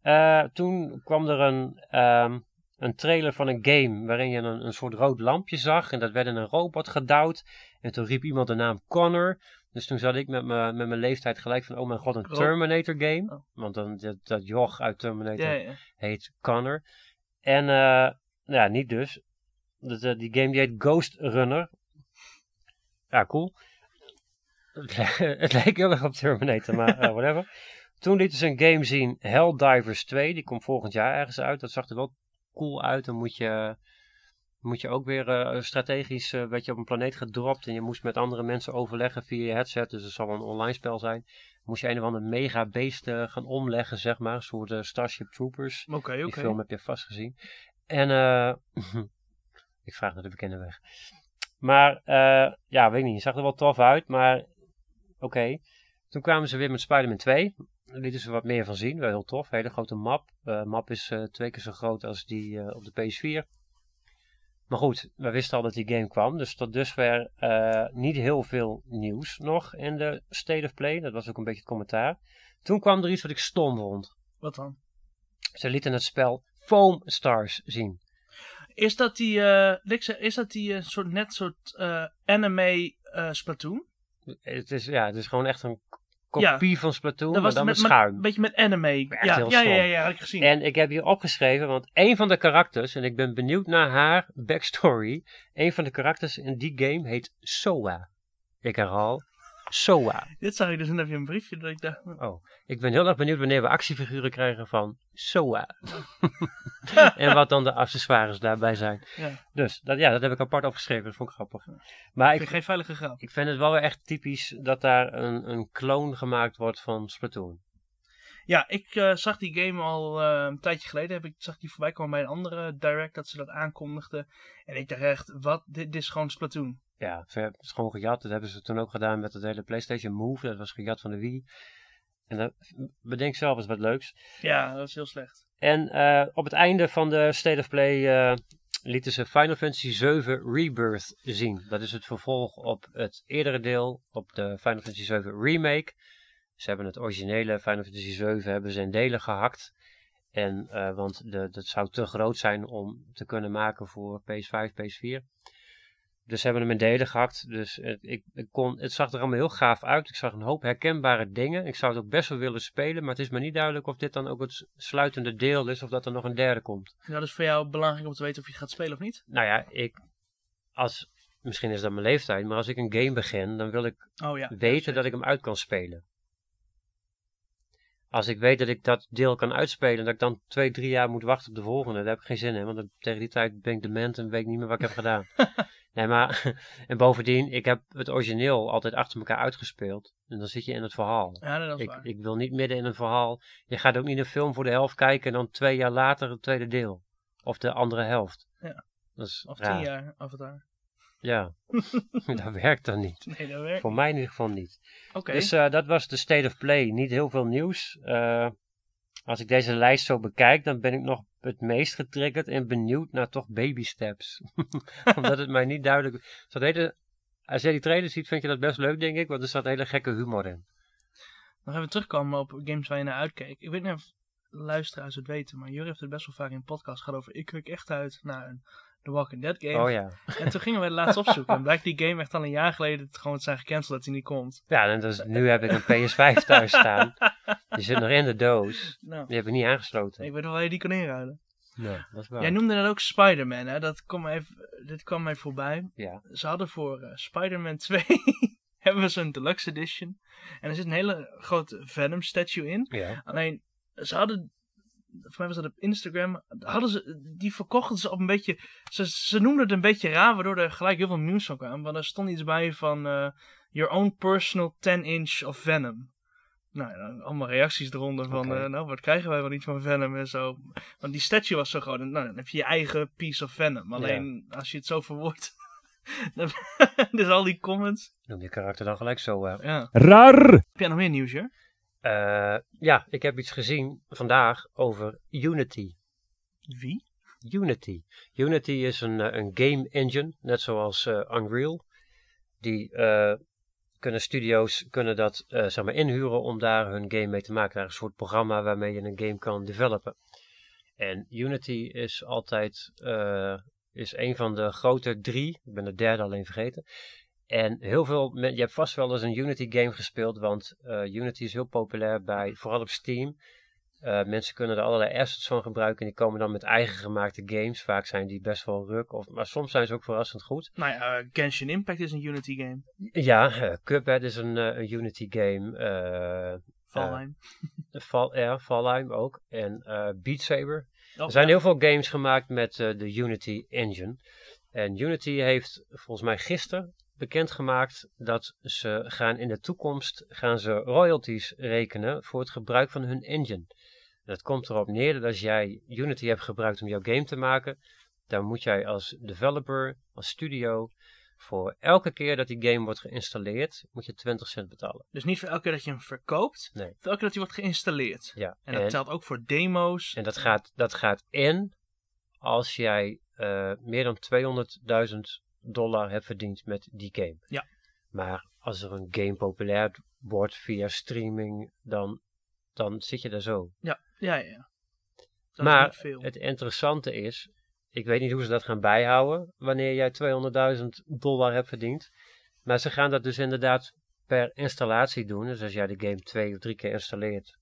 Speaker 2: Eh, toen kwam er een, ehm, een trailer van een game waarin je een, een soort rood lampje zag. En dat werd in een robot gedouwd. En toen riep iemand de naam Connor. Dus toen zat ik met mijn met mijn leeftijd gelijk van, oh mijn god, een
Speaker 1: Ro-
Speaker 2: Terminator game.
Speaker 1: Oh.
Speaker 2: Want dan, dat, dat joch uit Terminator
Speaker 1: Ja, ja.
Speaker 2: heet Connor. En, eh, nou ja, niet dus. Dat, eh, die game die heet Ghost Runner. Ja, cool. Het, li- het lijkt heel erg op Terminator, maar eh, whatever. Toen lieten ze een game zien, Helldivers 2. Die komt volgend jaar ergens uit. Dat zag er wel cool uit. Dan moet je, moet je ook weer eh, strategisch, eh werd je op een planeet gedropt. En je moest met andere mensen overleggen via je headset. Dus het zal wel een online spel zijn. Moest je een of ander mega beest eh, gaan omleggen, zeg maar. Een soort eh, Starship Troopers.
Speaker 1: Oké,
Speaker 2: Die
Speaker 1: oké.
Speaker 2: film heb je vast gezien. En eh, ik vraag naar de bekende weg. Maar eh, ja, weet ik niet. Zag er wel tof uit, maar oké. Toen kwamen ze weer met Spider-Man 2. Daar lieten ze wat meer van zien. Wel heel tof. Hele grote map. Eh map is eh, twee keer zo groot als die eh, op de PS4. Maar goed, we wisten al dat die game kwam. Dus tot dusver eh, niet heel veel nieuws nog in de State of Play. Dat was ook een beetje het commentaar. Toen kwam er iets wat ik stom vond.
Speaker 1: Wat dan?
Speaker 2: Ze lieten het spel Foam Stars zien.
Speaker 1: Is dat die, eh, niks, hè? is dat die eh, soort, net soort eh, anime eh Splatoon?
Speaker 2: Het is, ja, het is gewoon echt een k- kopie van Splatoon, maar dan met,
Speaker 1: met,
Speaker 2: schuim.
Speaker 1: een beetje met anime.
Speaker 2: Echt
Speaker 1: ja,
Speaker 2: heel
Speaker 1: ja,
Speaker 2: stom.
Speaker 1: ja, ja, had ik gezien.
Speaker 2: En ik heb hier opgeschreven, want een van de karakters, en ik ben benieuwd naar haar backstory. Een van de karakters in die game heet Soa. Ik herhaal, Soa.
Speaker 1: Dit zag ik dus net even in een briefje dat ik dacht...
Speaker 2: Ik ben heel erg benieuwd wanneer we actiefiguren krijgen van Soa. en wat dan de accessoires daarbij zijn.
Speaker 1: Ja.
Speaker 2: Dus dat, ja, dat heb ik apart opgeschreven, dat vond ik grappig. Maar
Speaker 1: Ik
Speaker 2: ik,
Speaker 1: vind geen veilige grap.
Speaker 2: Ik vind het wel weer echt typisch dat daar een, een kloon gemaakt wordt van Splatoon.
Speaker 1: Ja, ik eh, zag die game al eh, een tijdje geleden. Heb ik, zag die voorbij komen bij een andere direct dat ze dat aankondigden. En ik dacht echt, wat? Dit, dit is gewoon Splatoon.
Speaker 2: Ja, ze hebben het gewoon gejat. Dat hebben ze toen ook gedaan met het hele PlayStation Move. Dat was gejat van de Wii. En dat, bedenk zelf eens wat leuks.
Speaker 1: Ja, dat is heel slecht.
Speaker 2: En eh, op het einde van de State of Play eh, lieten ze Final Fantasy VII Rebirth zien. Dat is het vervolg op het eerdere deel, op de Final Fantasy VII Remake. Ze hebben het originele Final Fantasy VII hebben ze in delen gehakt. En, eh, want de, dat zou te groot zijn om te kunnen maken voor PS5, PS4. Dus ze hebben hem in delen gehakt. Dus het, ik, ik kon, het zag er allemaal heel gaaf uit. Ik zag een hoop herkenbare dingen. Ik zou het ook best wel willen spelen. Maar het is me niet duidelijk of dit dan ook het s- sluitende deel is. Of dat er nog een derde komt.
Speaker 1: En dat is voor jou belangrijk om te weten of je gaat spelen of niet?
Speaker 2: Nou ja, ik. Als, misschien is dat mijn leeftijd. Maar als ik een game begin, dan wil ik
Speaker 1: Oh ja.
Speaker 2: weten dat ik hem uit kan spelen. Als ik weet dat ik dat deel kan uitspelen, dat ik dan twee, drie jaar moet wachten op de volgende, daar heb ik geen zin in. Want dan- tegen die tijd ben ik dement en weet ik niet meer wat ik heb gedaan. nee, maar, en bovendien, ik heb het origineel altijd achter elkaar uitgespeeld. En dan zit je in het verhaal.
Speaker 1: Ja, dat is
Speaker 2: Ik,
Speaker 1: waar.
Speaker 2: ik wil niet midden in een verhaal. Je gaat ook niet een film voor de helft kijken en dan twee jaar later het tweede deel. Of de andere helft.
Speaker 1: Ja.
Speaker 2: Dat is
Speaker 1: Of
Speaker 2: raar.
Speaker 1: tien jaar, of het daar.
Speaker 2: Ja, dat werkt dan niet.
Speaker 1: Nee, dat werkt.
Speaker 2: Voor mij in ieder geval niet.
Speaker 1: Oké.
Speaker 2: Dus eh, dat was de State of Play. Niet heel veel nieuws. Eh, als ik deze lijst zo bekijk, dan ben ik nog het meest getriggerd en benieuwd naar toch baby steps. Omdat het mij niet duidelijk... Zo hele, als jij die trailer ziet, vind je dat best leuk, denk ik. Want er staat hele gekke humor in.
Speaker 1: Nog even terugkomen op games waar je naar uitkeek. Ik weet niet of luisteraars het weten, maar Jur heeft het best wel vaak in een podcast gehad over... Ik keek echt uit naar een The Walking Dead game.
Speaker 2: Oh ja.
Speaker 1: En toen gingen we het laatst opzoeken. En blijkt die game echt al een jaar geleden het gewoon zijn gecanceld dat hij niet komt.
Speaker 2: Ja, en dus, nu heb ik een PS5 thuis staan. Die zit nog in de doos.
Speaker 1: Nou,
Speaker 2: Die heb ik niet aangesloten.
Speaker 1: ik weet nog wel waar je die kon inruilen.
Speaker 2: Nee, dat is waar.
Speaker 1: Jij noemde dat ook Spider-Man, hè? Dat kwam even, dit kwam mij voorbij.
Speaker 2: Ja.
Speaker 1: Ze hadden voor eh, Spider-Man 2 hebben ze een deluxe edition. En er zit een hele grote Venom statue in.
Speaker 2: Ja.
Speaker 1: Alleen, ze hadden, voor mij was dat op Instagram, hadden ze, die verkochten ze op een beetje, ze, ze noemden het een beetje raar, waardoor er gelijk heel veel memes van kwamen. Want er stond iets bij van, eh, your own personal 10-inch of Venom. Nou, ja, dan allemaal reacties eronder van,
Speaker 2: Oké.
Speaker 1: eh, nou, wat krijgen wij wel niet van Venom en zo. Want die statue was zo groot, en, nou, dan heb je je eigen piece of Venom. Alleen, als je het zo verwoordt, dan- dus al die comments.
Speaker 2: Noem je karakter dan gelijk zo. eh.
Speaker 1: Ja.
Speaker 3: Rar!
Speaker 1: Heb jij nog meer nieuws, Jur?
Speaker 2: Eh, ja, ik heb iets gezien vandaag over Unity.
Speaker 1: Wie?
Speaker 2: Unity. Unity is een, eh, een game engine, net zoals eh, Unreal. Die eh, kunnen studio's kunnen dat eh, zeg maar inhuren om daar hun game mee te maken. Daar is een soort programma waarmee je een game kan developen. En Unity is altijd eh, is een van de grote drie. Ik ben de derde alleen vergeten. En heel veel, men- je hebt vast wel eens een Unity game gespeeld, want eh, Unity is heel populair bij, vooral op Steam. Eh, mensen kunnen er allerlei assets van gebruiken en die komen dan met eigen gemaakte games. Vaak zijn die best wel ruk, of, maar soms zijn ze ook verrassend goed.
Speaker 1: Nou ja, eh, Genshin Impact is een Unity game.
Speaker 2: Ja, eh, Cuphead is een, eh, een Unity game. eh,
Speaker 1: Valheim.
Speaker 2: Val, ja, Valheim ook. En eh, Beat Saber.
Speaker 1: Oh,
Speaker 2: Er zijn
Speaker 1: ja.
Speaker 2: heel veel games gemaakt met eh, de Unity Engine. En Unity heeft volgens mij gisteren bekendgemaakt dat ze gaan in de toekomst gaan ze royalties rekenen voor het gebruik van hun engine. En dat komt erop neer dat als jij Unity hebt gebruikt om jouw game te maken, dan moet jij als developer, als studio, voor elke keer dat die game wordt geïnstalleerd, moet je 20 cent betalen.
Speaker 1: Dus niet voor elke keer dat je hem verkoopt,
Speaker 2: Nee.
Speaker 1: voor elke keer dat hij wordt geïnstalleerd.
Speaker 2: Ja,
Speaker 1: En dat telt ook voor demo's.
Speaker 2: En dat gaat, dat gaat in als jij eh, meer dan 200.000 dollar hebt verdiend met die game.
Speaker 1: Ja.
Speaker 2: Maar als er een game populair wordt via streaming, dan, dan zit je daar zo.
Speaker 1: Ja, ja, ja. Dat
Speaker 2: Maar
Speaker 1: is niet veel.
Speaker 2: Het interessante is, ik weet niet hoe ze dat gaan bijhouden wanneer jij 200.000 dollar hebt verdiend. Maar ze gaan dat dus inderdaad per installatie doen. Dus als jij de game twee of drie keer installeert,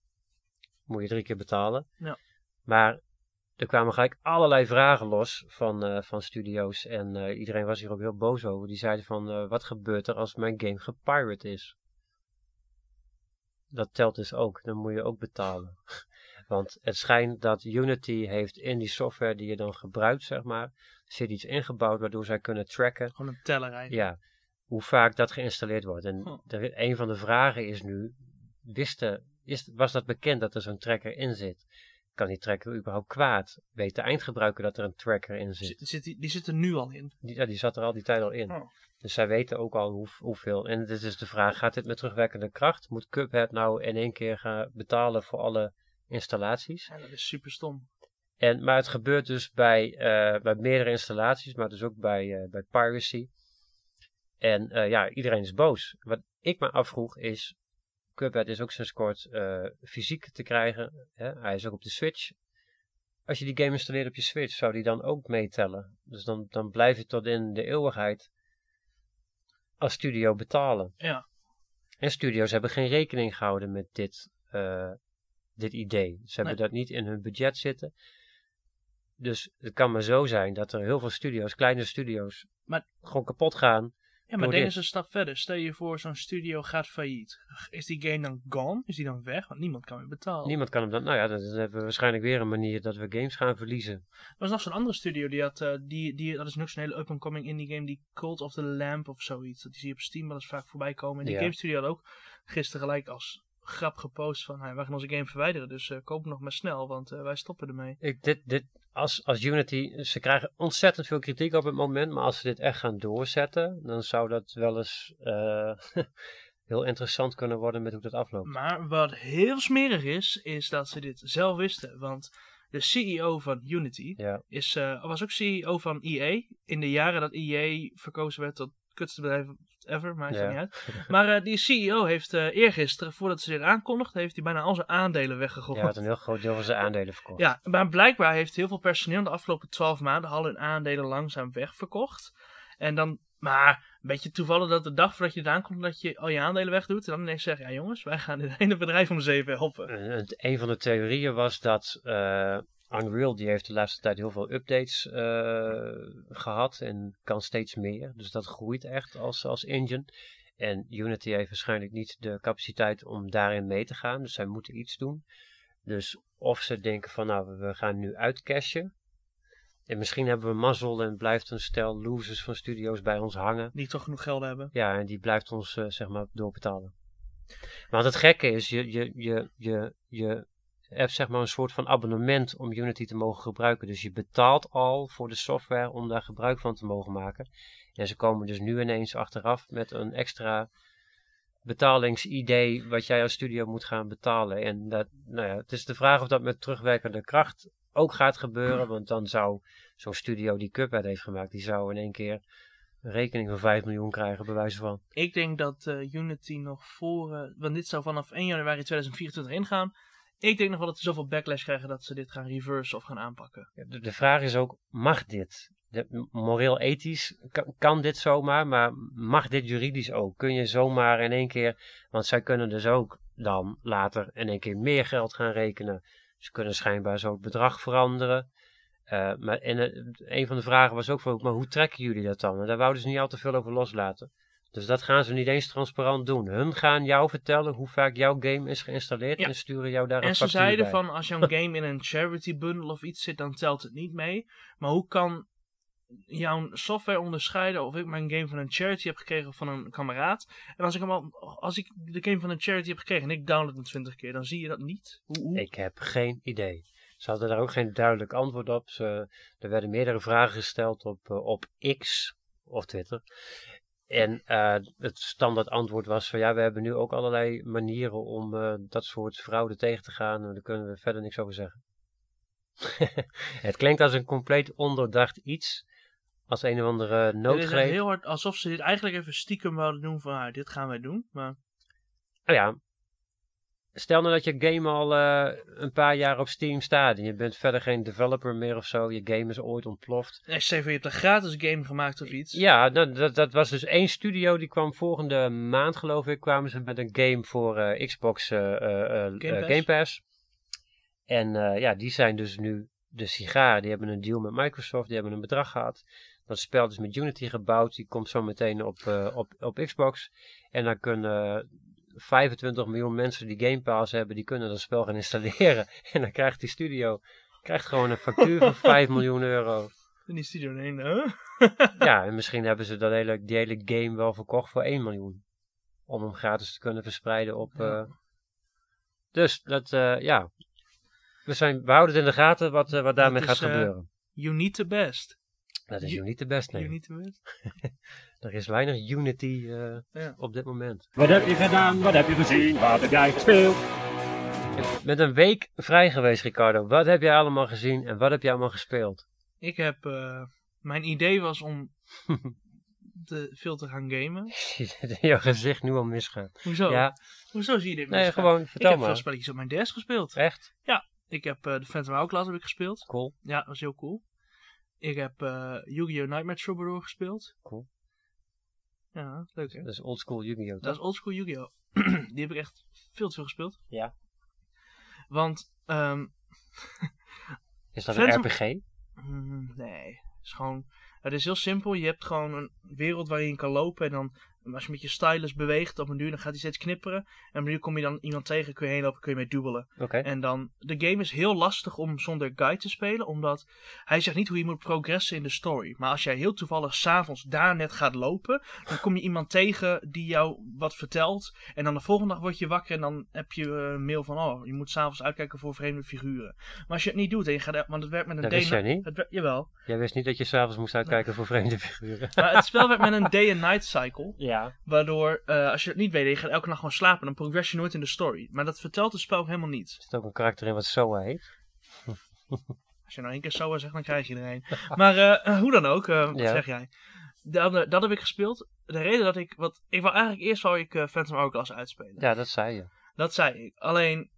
Speaker 2: moet je drie keer betalen.
Speaker 1: Ja.
Speaker 2: Maar er kwamen gelijk allerlei vragen los van, eh, van studio's. En eh, iedereen was hier ook heel boos over. Die zeiden van, eh, wat gebeurt er als mijn game gepirate is? Dat telt dus ook. Dan moet je ook betalen. Want het schijnt dat Unity heeft in die software die je dan gebruikt, zeg maar, zit iets ingebouwd waardoor zij kunnen tracken
Speaker 1: Gewoon een teller eigenlijk.
Speaker 2: ja, hoe vaak dat geïnstalleerd wordt. En
Speaker 1: Hm.
Speaker 2: er, een van de vragen is nu, wisten, is, was dat bekend dat er zo'n tracker in zit? Kan die tracker überhaupt kwaad? Weet de eindgebruiker dat er een tracker in zit?
Speaker 1: Zit- zit die, die zit er nu al in.
Speaker 2: Die, ja, die zat er al die tijd al in.
Speaker 1: Oh.
Speaker 2: Dus zij weten ook al hoe, hoeveel. En dit is de vraag, gaat dit met terugwerkende kracht? Moet Cuphead nou in één keer gaan betalen voor alle installaties?
Speaker 1: Ja, dat is super stom.
Speaker 2: En, maar het gebeurt dus bij, eh, bij meerdere installaties, maar dus ook bij, eh, bij piracy. En eh, ja, iedereen is boos. Wat ik me afvroeg is, Cuphead is ook sinds kort eh, fysiek te krijgen. Hè? Hij is ook op de Switch. Als je die game installeert op je Switch, zou die dan ook meetellen. Dus dan, dan blijf je tot in de eeuwigheid als studio betalen.
Speaker 1: Ja.
Speaker 2: En studio's hebben geen rekening gehouden met dit, eh, dit idee. Ze hebben dat niet in hun budget zitten. Dus het kan maar zo zijn dat er heel veel studio's, kleine studio's,
Speaker 1: Maar-
Speaker 2: gewoon kapot gaan.
Speaker 1: Ja, maar
Speaker 2: Door
Speaker 1: denk
Speaker 2: dit.
Speaker 1: eens een stap verder. Stel je voor, zo'n studio gaat failliet. Is die game dan gone? Is die dan weg? Want niemand kan meer betalen.
Speaker 2: Niemand kan hem dan. Nou ja, dan hebben we waarschijnlijk weer een manier dat we games gaan verliezen.
Speaker 1: Er was nog zo'n andere studio, die had, eh, die, die, dat is nog zo'n hele up-and-coming indie game, die Cult of the Lamp of zoiets. Dat zie je op Steam wel eens vaak voorbij komen. En die
Speaker 2: Ja.
Speaker 1: game studio had ook gisteren gelijk als grap gepost van, hey, wij gaan onze game verwijderen, dus eh, koop hem nog maar snel, want eh, wij stoppen ermee.
Speaker 2: Ik, dit, dit, als, als Unity, ze krijgen ontzettend veel kritiek op het moment, maar als ze dit echt gaan doorzetten, dan zou dat wel eens eh, heel interessant kunnen worden met hoe dat afloopt.
Speaker 1: Maar wat heel smerig is, is dat ze dit zelf wisten, want de CEO van Unity
Speaker 2: Ja,
Speaker 1: is, eh, was ook CEO van EA in de jaren dat EA verkozen werd tot kutste bedrijf ever, maakt het
Speaker 2: Ja.
Speaker 1: niet uit. Maar eh, die CEO heeft eh eergisteren, voordat ze dit aankondigde, heeft hij bijna al zijn aandelen weggegooid.
Speaker 2: ja had een heel groot deel van zijn aandelen verkocht.
Speaker 1: Ja, maar blijkbaar heeft heel veel personeel de afgelopen twaalf maanden al hun aandelen langzaam wegverkocht. En dan, maar een beetje toevallig dat de dag voordat je eraan komt, dat je al je aandelen wegdoet. En dan ineens zeg je, ja jongens, wij gaan dit ene bedrijf om zeven helpen.
Speaker 2: Eh, het- een van de theorieën was dat eh, Unreal die heeft de laatste tijd heel veel updates eh, gehad en kan steeds meer. Dus dat groeit echt als, als engine. En Unity heeft waarschijnlijk niet de capaciteit om daarin mee te gaan. Dus zij moeten iets doen. Dus of ze denken van nou, we gaan nu uitcashen. En misschien hebben we mazzel en blijft een stel losers van studio's bij ons hangen.
Speaker 1: Die toch genoeg geld hebben.
Speaker 2: Ja, en die blijft ons eh, zeg maar doorbetalen. Maar het gekke is, je, je, je, je, je hebt zeg maar een soort van abonnement om Unity te mogen gebruiken. Dus je betaalt al voor de software om daar gebruik van te mogen maken. En ze komen dus nu ineens achteraf met een extra betalingsidee wat jij als studio moet gaan betalen. En dat, nou ja, het is de vraag of dat met terugwerkende kracht ook gaat gebeuren. Want dan zou zo'n studio die Cuphead heeft gemaakt, die zou in één keer een rekening van 5 miljoen krijgen, bij wijze van.
Speaker 1: Ik denk dat eh, Unity nog voor. eh, want dit zou vanaf 1 januari 2024 ingaan. Ik denk nog wel dat ze zoveel backlash krijgen dat ze dit gaan reversen of gaan aanpakken.
Speaker 2: De, de vraag is ook, mag dit? De, moreel ethisch kan, kan dit zomaar, maar mag dit juridisch ook? Kun je zomaar in één keer, want zij kunnen dus ook dan later in één keer meer geld gaan rekenen. Ze kunnen schijnbaar zo het bedrag veranderen. Eh, maar en, eh, een van de vragen was ook van, maar hoe trekken jullie dat dan? En daar wouden ze niet al te veel over loslaten. Dus dat gaan ze niet eens transparant doen. Hun gaan jou vertellen hoe vaak jouw game is geïnstalleerd
Speaker 1: Ja.
Speaker 2: en sturen jou daar een
Speaker 1: en ze
Speaker 2: factuur
Speaker 1: zeiden
Speaker 2: bij.
Speaker 1: van als jouw game in een charity bundle of iets zit, dan telt het niet mee. Maar hoe kan jouw software onderscheiden of ik mijn game van een charity heb gekregen van een kameraad? En als ik, hem al, als ik de game van een charity heb gekregen en ik download hem 20 keer, dan zie je dat niet. Hoe, hoe?
Speaker 2: Ik heb geen idee. Ze hadden daar ook geen duidelijk antwoord op. Ze, er werden meerdere vragen gesteld op, eh, op X of Twitter. En eh, het standaard antwoord was van ja, we hebben nu ook allerlei manieren om eh, dat soort fraude tegen te gaan. En daar kunnen we verder niks over zeggen. het klinkt als een compleet onderdacht iets. Als een of andere
Speaker 1: Het is echt
Speaker 2: noodgreep.
Speaker 1: heel hard alsof ze dit eigenlijk even stiekem wilden doen van ah, dit gaan wij doen. Maar
Speaker 2: Nou ja, stel nou dat je game al eh, een paar jaar op Steam staat en je bent verder geen developer meer of zo, je game is ooit ontploft.
Speaker 1: SCV, je hebt een gratis game gemaakt of iets.
Speaker 2: Ja, nou, dat, dat was dus één studio die kwam volgende maand, geloof ik, kwamen ze met een game voor eh, Xbox eh, eh, eh,
Speaker 1: Game Pass.
Speaker 2: eh, Game Pass. En eh, ja, die zijn dus nu de sigaar. Die hebben een deal met Microsoft, die hebben een bedrag gehad. Dat spel is met Unity gebouwd, die komt zo meteen op, eh, op, op Xbox. En dan kunnen 25 miljoen mensen die Game Pass hebben, die kunnen dat spel gaan installeren. En dan krijgt die studio krijgt gewoon een factuur van 5 miljoen euro.
Speaker 1: En die studio heen, hè?
Speaker 2: Ja, en misschien hebben ze dat hele, die hele game wel verkocht voor 1 miljoen. Om hem gratis te kunnen verspreiden op...
Speaker 1: Ja.
Speaker 2: eh, Dus, dat, eh, ja. We, zijn, we houden het in de gaten wat, eh, wat daarmee
Speaker 1: is,
Speaker 2: gaat
Speaker 1: eh,
Speaker 2: gebeuren.
Speaker 1: You need the best.
Speaker 2: Dat is
Speaker 1: you-
Speaker 2: Unity best, nee.
Speaker 1: You need the best.
Speaker 2: Er is weinig Unity eh,
Speaker 1: Ja.
Speaker 2: op dit moment.
Speaker 3: Wat heb je gedaan? Wat heb je gezien? Wat heb jij gespeeld?
Speaker 2: Met een week vrij geweest, Ricardo. Wat heb jij allemaal gezien en wat heb jij allemaal gespeeld?
Speaker 1: Ik heb... eh, mijn idee was om te, veel te gaan gamen.
Speaker 2: Ik zie dat in jouw gezicht nu al misgaan.
Speaker 3: Oh,
Speaker 1: Hoezo?
Speaker 2: Ja,
Speaker 1: Hoezo zie je dit
Speaker 2: nee,
Speaker 1: misgaan?
Speaker 2: gewoon
Speaker 1: Ik
Speaker 2: vertel
Speaker 1: heb veel
Speaker 2: maar.
Speaker 1: spelletjes op mijn desk gespeeld.
Speaker 2: Echt?
Speaker 1: Ik heb eh, de Phantom Hourglass heb ik gespeeld.
Speaker 2: Cool.
Speaker 1: Ja, dat was heel cool. Ik heb eh, Yu-Gi-Oh! Nightmare Troubadour gespeeld.
Speaker 2: Cool.
Speaker 1: Ja, leuk hè?
Speaker 2: Dat is oldschool Yu-Gi-Oh!
Speaker 1: Dat
Speaker 2: toch?
Speaker 1: is oldschool Yu-Gi-Oh! Die heb ik echt veel te veel gespeeld.
Speaker 2: Ja.
Speaker 1: Want, ehm,
Speaker 2: Is dat
Speaker 1: Phantom-
Speaker 2: een RPG?
Speaker 1: mm, nee, het is gewoon, het is heel simpel. Je hebt gewoon een wereld waarin je kan lopen en dan, als je met je stylus beweegt op een duur, dan gaat hij steeds knipperen. En op nu kom je dan iemand tegen, kun je heen lopen, kun je mee dubbelen.
Speaker 2: Oké.
Speaker 1: En dan, de game is heel lastig om zonder guide te spelen, omdat hij zegt niet hoe je moet progressen in de story. Maar als jij heel toevallig s'avonds daar net gaat lopen, dan kom je iemand tegen die jou wat vertelt. En dan de volgende dag word je wakker en dan heb je eh, een mail van, oh, je moet s'avonds uitkijken voor vreemde figuren. Maar als je het niet doet en je gaat, want het werkt met een
Speaker 2: Dat wist
Speaker 1: day-
Speaker 2: jij niet?
Speaker 1: Het wer- jawel.
Speaker 2: Jij wist niet dat je s'avonds moest uitkijken voor vreemde figuren.
Speaker 1: Maar het spel werkt met een day and night cycle.
Speaker 2: Ja.
Speaker 1: Waardoor, eh, als je het niet weet en je gaat elke nacht gewoon slapen, dan progress je nooit in de story. Maar dat vertelt het spel ook helemaal niet.
Speaker 2: Er zit ook een karakter in wat Soa heet.
Speaker 1: Als je nou één keer SOA zegt, dan krijg je er een. Maar eh, hoe dan ook, eh, wat
Speaker 2: Ja.
Speaker 1: zeg jij? Dat, eh, dat heb ik gespeeld. De reden dat ik... Wat, ik wou eigenlijk eerst wou ik eh, Phantom Hourglass uitspelen.
Speaker 2: Ja, dat zei je.
Speaker 1: Dat zei ik. Alleen,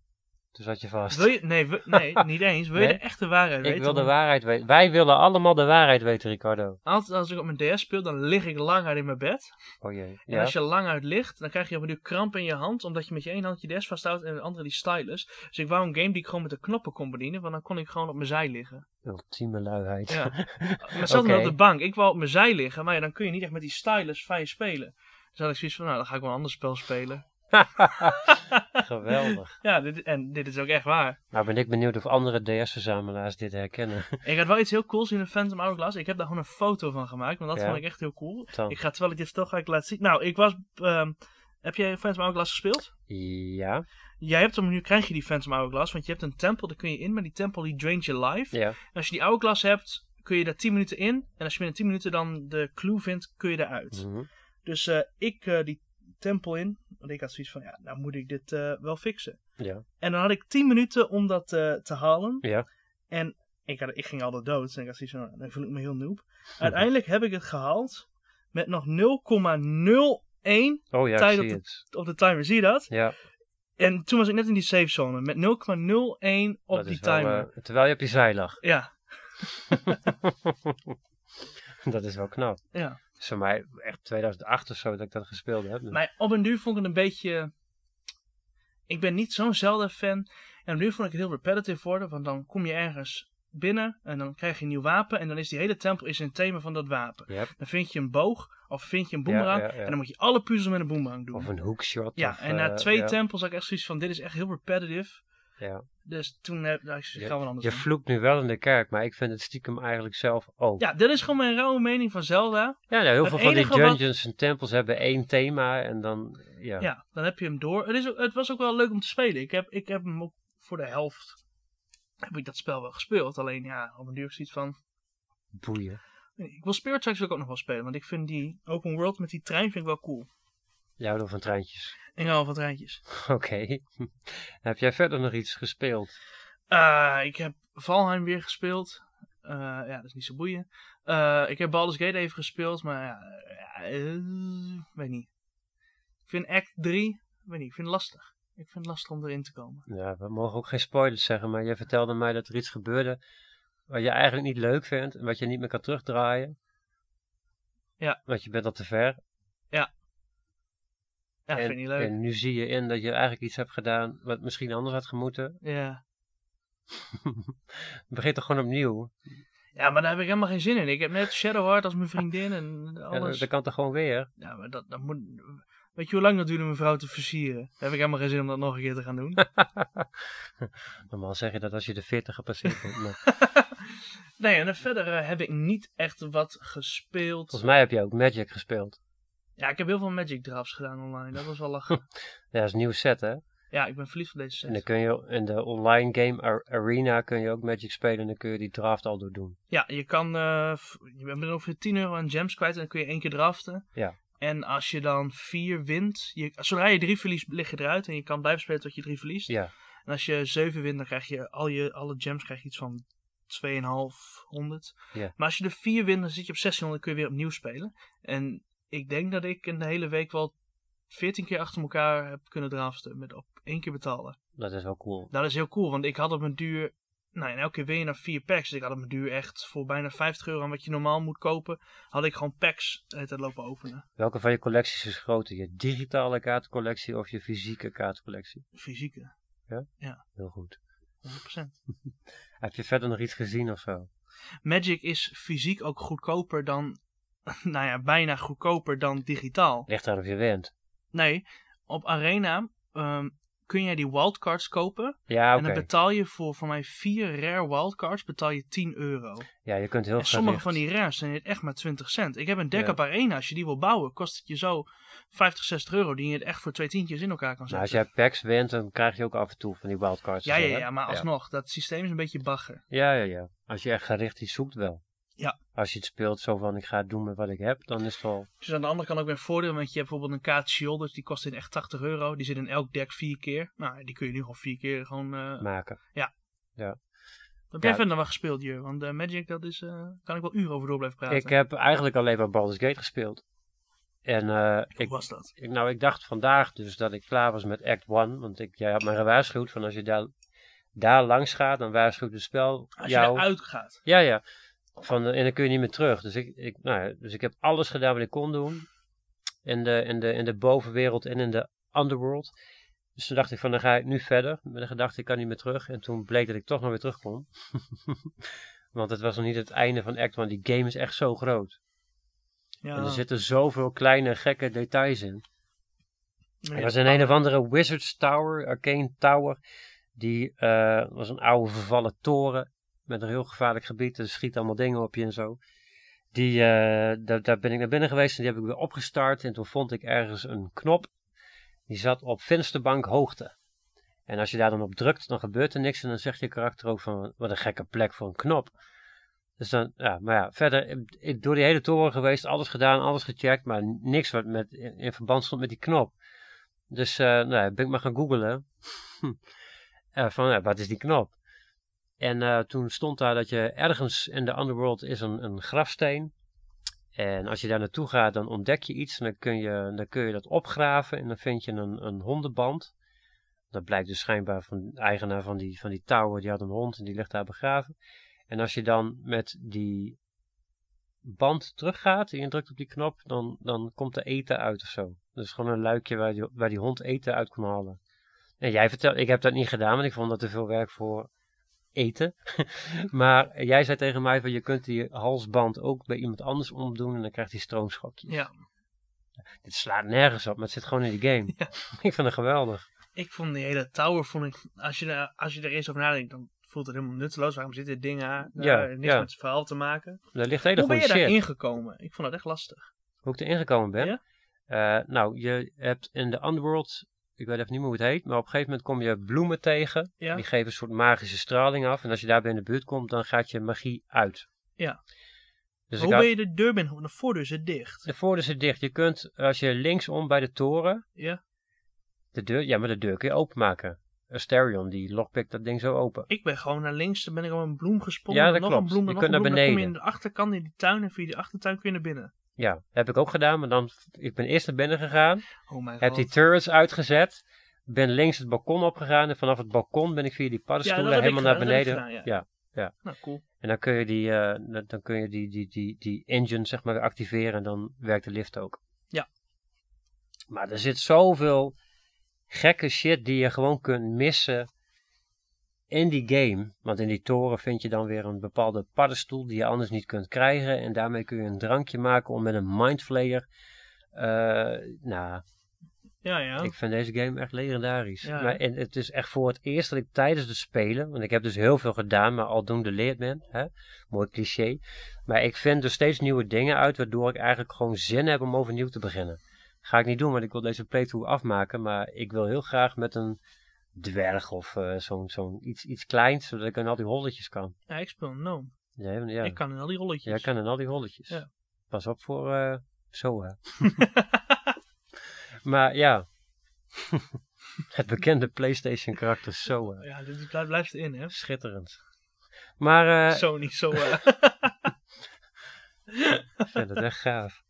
Speaker 2: Toen zat je vast.
Speaker 1: wil je... Nee, wil- nee niet eens. Wil je
Speaker 2: Nee?
Speaker 1: de echte waarheid weten?
Speaker 2: ik wil de
Speaker 1: dan-
Speaker 2: waarheid weten. Wij willen allemaal de waarheid weten, Ricardo.
Speaker 1: Altijd als ik op mijn DS speel, dan lig ik lang uit in mijn bed.
Speaker 2: Oh jee.
Speaker 1: En
Speaker 2: Ja.
Speaker 1: als je lang uit ligt, dan krijg je op een duur kramp in je hand. Omdat je met je één hand je DS vasthoudt en met de andere die stylus. Dus ik wou een game die ik gewoon met de knoppen kon bedienen. Want dan kon ik gewoon op mijn zij liggen.
Speaker 2: Ultieme luiheid.
Speaker 1: Ja. Maar
Speaker 2: Oké.
Speaker 1: zat me op de bank. Ik wou op mijn zij liggen, maar ja, dan kun je niet echt met die stylus vrij spelen. Dus had ik zoiets van, nou, dan ga ik wel een ander spel spelen.
Speaker 2: Geweldig.
Speaker 1: Ja, dit, en dit is ook echt waar.
Speaker 2: Nou ben ik benieuwd of andere DS-verzamelaars dit herkennen.
Speaker 1: Ik had wel iets heel cools in een Phantom Hourglass. Ik heb daar gewoon een foto van gemaakt, want dat
Speaker 2: Ja. Oh.
Speaker 1: vond ik echt heel cool.
Speaker 2: Dan.
Speaker 1: Ik ga, terwijl ik dit toch ga ik laten zien. Nou, ik was... ehm, heb jij Phantom Hourglass gespeeld?
Speaker 2: Ja.
Speaker 1: Jij hebt hem, nu krijg je die Phantom Hourglass, want je hebt een tempel, daar kun je in, maar die tempel die draint je life.
Speaker 2: Ja.
Speaker 1: En als je die Hourglass hebt, kun je daar 10 minuten in. En als je binnen 10 minuten dan de clue vindt, kun je eruit.
Speaker 2: Mhm.
Speaker 1: Dus eh, ik eh, die tempel in, want ik had zoiets van, ja, nou moet ik dit eh, wel fixen.
Speaker 2: Ja.
Speaker 1: En dan had ik 10 minuten om dat eh, te halen.
Speaker 2: Ja.
Speaker 1: En Ik, had, ik ging altijd dood. Dus ik had zoiets van, nou, dan voel ik me heel noob. Uiteindelijk heb ik het gehaald met nog 0,01
Speaker 2: Oh ja,
Speaker 1: Tijd
Speaker 2: ik
Speaker 1: op
Speaker 2: zie
Speaker 1: de-
Speaker 2: het.
Speaker 1: op de timer. Zie je dat?
Speaker 2: Ja,
Speaker 1: En toen was ik net in die safe zone met 0,01 op
Speaker 2: dat
Speaker 1: die
Speaker 2: is wel,
Speaker 1: timer.
Speaker 2: eh, terwijl je op je zij lag.
Speaker 1: Ja,
Speaker 2: dat is wel knap.
Speaker 1: ja.
Speaker 2: Dat is voor mij echt 2008 of zo dat ik dat gespeeld heb.
Speaker 1: Maar op een duur vond ik het een beetje... Ik ben niet zo'n Zelda-fan. En op een duur vond ik het heel repetitive worden. Want dan kom je ergens binnen en dan krijg je een nieuw wapen. En dan is die hele tempel is een thema van dat wapen.
Speaker 2: Yep.
Speaker 1: Dan vind je een boog of vind je een boemerang.
Speaker 2: ja, ja.
Speaker 1: En dan moet je alle puzzels met een boemerang doen.
Speaker 2: Of een hoekshot.
Speaker 1: Ja,
Speaker 2: of,
Speaker 1: en na
Speaker 2: eh,
Speaker 1: twee
Speaker 2: ja,
Speaker 1: tempels had ik echt zoiets van, dit is echt heel repetitive.
Speaker 2: ja.
Speaker 1: Dus toen heb nou, ik zei, gaan we anders
Speaker 2: Je
Speaker 1: doen.
Speaker 2: vloekt nu wel in de kerk, maar ik vind het stiekem eigenlijk zelf ook.
Speaker 1: Ja, dit is gewoon mijn rauwe mening van Zelda.
Speaker 2: Ja, nou, heel
Speaker 1: Het
Speaker 2: veel van die
Speaker 1: enige wat-
Speaker 2: dungeons en tempels hebben één thema en dan, ja.
Speaker 1: Ja, dan heb je hem door. Het, is ook, het was ook wel leuk om te spelen. Ik heb, ik heb hem ook voor de helft, heb ik dat spel wel gespeeld. Alleen ja, op een duur is iets van,
Speaker 2: boeien.
Speaker 1: ik wil Spirit Tracks wil ik ook nog wel spelen. Want ik vind die open world met die trein vind ik wel cool.
Speaker 2: Jij houdt wel van treintjes.
Speaker 1: Ik hou van treintjes.
Speaker 2: Oké. heb jij verder nog iets gespeeld?
Speaker 1: Eh, ik heb Valheim weer gespeeld. Eh, ja, dat is niet zo boeiend. Eh, ik heb Baldur's Gate even gespeeld, maar ja, eh, eh, weet niet. Ik vind Act 3, weet niet, ik vind het lastig. Ik vind het lastig om erin te komen.
Speaker 2: Ja, we mogen ook geen spoilers zeggen, maar jij vertelde mij dat er iets gebeurde wat je eigenlijk niet leuk vindt en wat je niet meer kan terugdraaien.
Speaker 1: Ja.
Speaker 2: Want je bent al te ver.
Speaker 1: Ja,
Speaker 2: en,
Speaker 1: vind ik niet leuk.
Speaker 2: En nu zie je in dat je eigenlijk iets hebt gedaan wat misschien anders had gemoeten.
Speaker 1: Ja.
Speaker 2: Begin toch gewoon opnieuw.
Speaker 1: ja, maar daar heb ik helemaal geen zin in. Ik heb net Shadow Heart als mijn vriendin en
Speaker 2: Ja, dat,
Speaker 1: alles. Ja,
Speaker 2: dat kan toch gewoon weer?
Speaker 1: maar dat, dat moet... Weet je hoe lang dat duurde om een vrouw te versieren? Daar heb ik helemaal geen zin om dat nog een keer te gaan doen.
Speaker 2: Normaal zeg je dat als je de 40 gepasseerd bent. maar
Speaker 1: nee, en dan verder eh, heb ik niet echt wat gespeeld.
Speaker 2: volgens mij heb je ook Magic gespeeld.
Speaker 1: Ja, ik heb heel veel Magic drafts gedaan online. Dat was wel lachen.
Speaker 2: Ja, dat is een nieuw set, hè?
Speaker 1: ja, ik ben verliefd op deze set.
Speaker 2: En dan kun je in de online game ar- arena kun je ook Magic spelen en dan kun je die draft al door doen.
Speaker 1: Ja, je kan... eh, f- je bent ongeveer 10 euro aan gems kwijt en dan kun je één keer draften.
Speaker 2: Ja.
Speaker 1: En als je dan vier wint... Je, zodra je drie verliest, lig je eruit. En je kan blijven spelen tot je drie verliest.
Speaker 2: Ja,
Speaker 1: En als je zeven wint, dan krijg je... Al je alle gems krijg je iets van 2,500.
Speaker 2: Ja.
Speaker 1: Maar als je er vier wint, dan zit je op 1600 en kun je weer opnieuw spelen. En ik denk dat ik in de hele week wel 14 keer achter elkaar heb kunnen draften. Met op één keer betalen.
Speaker 2: dat is wel cool.
Speaker 1: Dat is heel cool, want ik had op mijn duur. Nou, en elke keer weer naar vier packs. Dus ik had op mijn duur echt voor bijna 50 euro aan wat je normaal moet kopen. Had ik gewoon packs het lopen openen.
Speaker 2: Welke van je collecties is groter? Je digitale kaartcollectie of je fysieke kaartcollectie?
Speaker 1: Fysieke,
Speaker 2: Heel goed.
Speaker 1: 100%.
Speaker 2: Heb je verder nog iets gezien of zo?
Speaker 1: Magic is fysiek ook goedkoper dan. Nou ja, bijna goedkoper dan digitaal.
Speaker 2: Ligt daar of je wint.
Speaker 1: Nee, op Arena ehm, kun jij die wildcards kopen.
Speaker 2: Ja,
Speaker 1: En
Speaker 2: oké.
Speaker 1: dan betaal je voor, voor mij, vier rare wildcards betaal je 10 euro.
Speaker 2: Ja, je kunt heel
Speaker 1: En sommige van
Speaker 2: gericht-
Speaker 1: die rares zijn echt maar 20 cent. Ik heb een deck
Speaker 2: Ja.
Speaker 1: op Arena. Als je die wil bouwen, kost het je zo 50, 60 euro. Die je het echt voor twee tientjes in elkaar kan
Speaker 2: Nou, als
Speaker 1: zetten.
Speaker 2: jij packs wint, dan krijg je ook af en toe van die wildcards.
Speaker 1: ja,
Speaker 2: en zo,
Speaker 1: ja,
Speaker 2: hè?
Speaker 1: ja, maar alsnog. Dat systeem is een beetje bagger.
Speaker 2: Ja, ja, ja. Als je echt gericht iets zoekt wel.
Speaker 1: Ja.
Speaker 2: Als je het speelt zo van ik ga het doen met wat ik heb, dan is het wel...
Speaker 1: Dus aan de andere kant ook weer een voordeel. Want je hebt bijvoorbeeld een kaart Shoulders. Die kost in echt 80 euro. Die zit in elk deck vier keer. Nou, die kun je nu gewoon vier keer gewoon... eh
Speaker 2: maken.
Speaker 1: Heb jij
Speaker 2: ja.
Speaker 1: verder nog wat gespeeld, Jur? Want eh, Magic, dat is... eh, kan ik wel uren over door blijven praten.
Speaker 2: Ik eh, heb eigenlijk alleen maar Baldur's Gate gespeeld. En eh,
Speaker 1: Hoe
Speaker 2: ik,
Speaker 1: was dat?
Speaker 2: ik, nou, ik dacht vandaag dus dat ik klaar was met Act 1. Want ik, jij had mij gewaarschuwd van als je daar, daar langs gaat, dan waarschuwt het spel
Speaker 1: Als je
Speaker 2: jou.
Speaker 1: eruit gaat.
Speaker 2: Ja, ja. Van, eh, en dan kun je niet meer terug. Dus ik, ik, nou ja, dus ik heb alles gedaan wat ik kon doen. In de, in, de, in de bovenwereld en in de underworld. Dus toen dacht ik van, dan ga ik nu verder. Met de gedachte, ik kan niet meer terug. En toen bleek dat ik toch nog weer terug kon. Want het was nog niet het einde van Act 1. Die game is echt zo groot.
Speaker 1: Ja.
Speaker 2: En er zitten zoveel kleine, gekke details in.
Speaker 1: Ja.
Speaker 2: Er was in een of andere Wizards Tower, Arcane Tower. Die eh, was een oude vervallen toren met een heel gevaarlijk gebied. Er schiet allemaal dingen op je en zo. Die, eh, daar, daar ben ik naar binnen geweest en die heb ik weer opgestart. En toen vond ik ergens een knop. Die zat op vensterbank hoogte. En als je daar dan op drukt, dan gebeurt er niks. En dan zegt je karakter ook van, wat een gekke plek voor een knop. Dus dan, ja, maar ja, verder, ik- ik door die hele toren geweest, alles gedaan, alles gecheckt, maar niks wat met, in, in verband stond met die knop. Dus, eh nou, ja, ben ik maar gaan googlen. Hm. Eh, van, ja, wat is die knop? En eh, toen stond daar dat je ergens in de underworld is een, een grafsteen. En als je daar naartoe gaat, dan ontdek je iets. En dan kun je, dan kun je dat opgraven. En dan vind je een, een hondenband. Dat blijkt dus schijnbaar van de eigenaar van die, van die tower. Die had een hond en die ligt daar begraven. En als je dan met die band teruggaat en je drukt op die knop, dan, dan komt er eten uit of zo. Dus gewoon een luikje waar die, waar die hond eten uit kon halen. En jij vertelt, ik heb dat niet gedaan, want ik vond dat te veel werk voor eten. maar jij zei tegen mij van je kunt die halsband ook bij iemand anders omdoen en dan krijgt hij stroomschokje.
Speaker 1: Ja,
Speaker 2: Dit slaat nergens op, maar het zit gewoon in die game. ik vind het geweldig.
Speaker 1: ik vond die hele tower, vond ik, als, je er, als je er eerst over nadenkt, dan voelt het helemaal nutteloos. Waarom zit dit ding aan?
Speaker 2: Ja,
Speaker 1: Ja, niks
Speaker 2: ja.
Speaker 1: met het verhaal te maken.
Speaker 2: Daar ligt hele
Speaker 1: Hoe ben
Speaker 2: goede
Speaker 1: je
Speaker 2: shit.
Speaker 1: daarin gekomen? Ik vond dat echt lastig.
Speaker 2: Hoe ik erin gekomen ben?
Speaker 1: Ja?
Speaker 2: Eh, nou, je hebt in de Underworld, ik weet even niet meer hoe het heet, maar op een gegeven moment kom je bloemen tegen.
Speaker 1: Ja,
Speaker 2: Die geven een soort magische straling af. En als je daarbij in de buurt komt, dan gaat je magie uit.
Speaker 1: Ja.
Speaker 2: Dus
Speaker 1: hoe
Speaker 2: ik had,
Speaker 1: ben je de deur binnen? De voordeur zit dicht.
Speaker 2: de voordeur zit dicht. Je kunt, als je linksom bij de toren,
Speaker 1: Ja.
Speaker 2: de deur, ja, maar de deur kun je openmaken. Asterion, die lockpick dat ding zo open.
Speaker 1: Ik ben gewoon naar links, dan ben ik al een bloem gesprongen.
Speaker 2: Ja,
Speaker 1: dan
Speaker 2: dat
Speaker 1: nog
Speaker 2: klopt.
Speaker 1: een bloem,
Speaker 2: Je
Speaker 1: dan nog
Speaker 2: kunt
Speaker 1: een bloem.
Speaker 2: naar
Speaker 1: Dan kom je in
Speaker 2: beneden.
Speaker 1: de achterkant in die tuin en via die achtertuin kun je naar binnen.
Speaker 2: Ja, heb ik ook gedaan, maar dan, ik ben eerst naar binnen gegaan.
Speaker 1: Oh mijn
Speaker 2: Heb
Speaker 1: god.
Speaker 2: die turrets uitgezet. Ben links het balkon opgegaan. En vanaf het balkon ben ik via die paddenstoelen
Speaker 1: heb ik
Speaker 2: helemaal naar
Speaker 1: gedaan, dat heb ik
Speaker 2: beneden.
Speaker 1: gedaan,
Speaker 2: ja.
Speaker 1: Nou, cool.
Speaker 2: En dan kun je die, eh, dan- dan kun je die, die, die, die engine zeg maar activeren en dan werkt de lift ook.
Speaker 1: Ja.
Speaker 2: Maar er zit zoveel gekke shit die je gewoon kunt missen in die game. Want in die toren vind je dan weer een bepaalde paddenstoel die je anders niet kunt krijgen. En daarmee kun je een drankje maken om met een mindflayer. eh nou,
Speaker 1: Ja, ja.
Speaker 2: ik vind deze game echt legendarisch.
Speaker 1: Oh. Ja, hè?
Speaker 2: Maar, en het is echt voor het eerst dat ik tijdens het spelen, want ik heb dus heel veel gedaan, maar aldoende leert men. Hè? Mooi cliché. Maar ik vind er steeds nieuwe dingen uit, waardoor ik eigenlijk gewoon zin heb om overnieuw te beginnen. Ga ik niet doen, want ik wil deze playthrough afmaken. Maar ik wil heel graag met een dwerg of eh, zo'n zo'n iets, iets kleins, zodat ik in al die holletjes kan.
Speaker 1: Ja, ik speel Gnome.
Speaker 2: Ja, want- ja.
Speaker 1: Ik kan in al die rolletjes.
Speaker 2: Jij kan in al die holletjes.
Speaker 1: Dus- Ja.
Speaker 2: Pas op voor eh Zoa. maar ja. Het bekende PlayStation karakter Soa.
Speaker 1: Ja, dit blijft, blijft erin, hè?
Speaker 2: Schitterend. Maar eh
Speaker 1: Sony, zo. eh,
Speaker 2: ik vind het echt gaaf.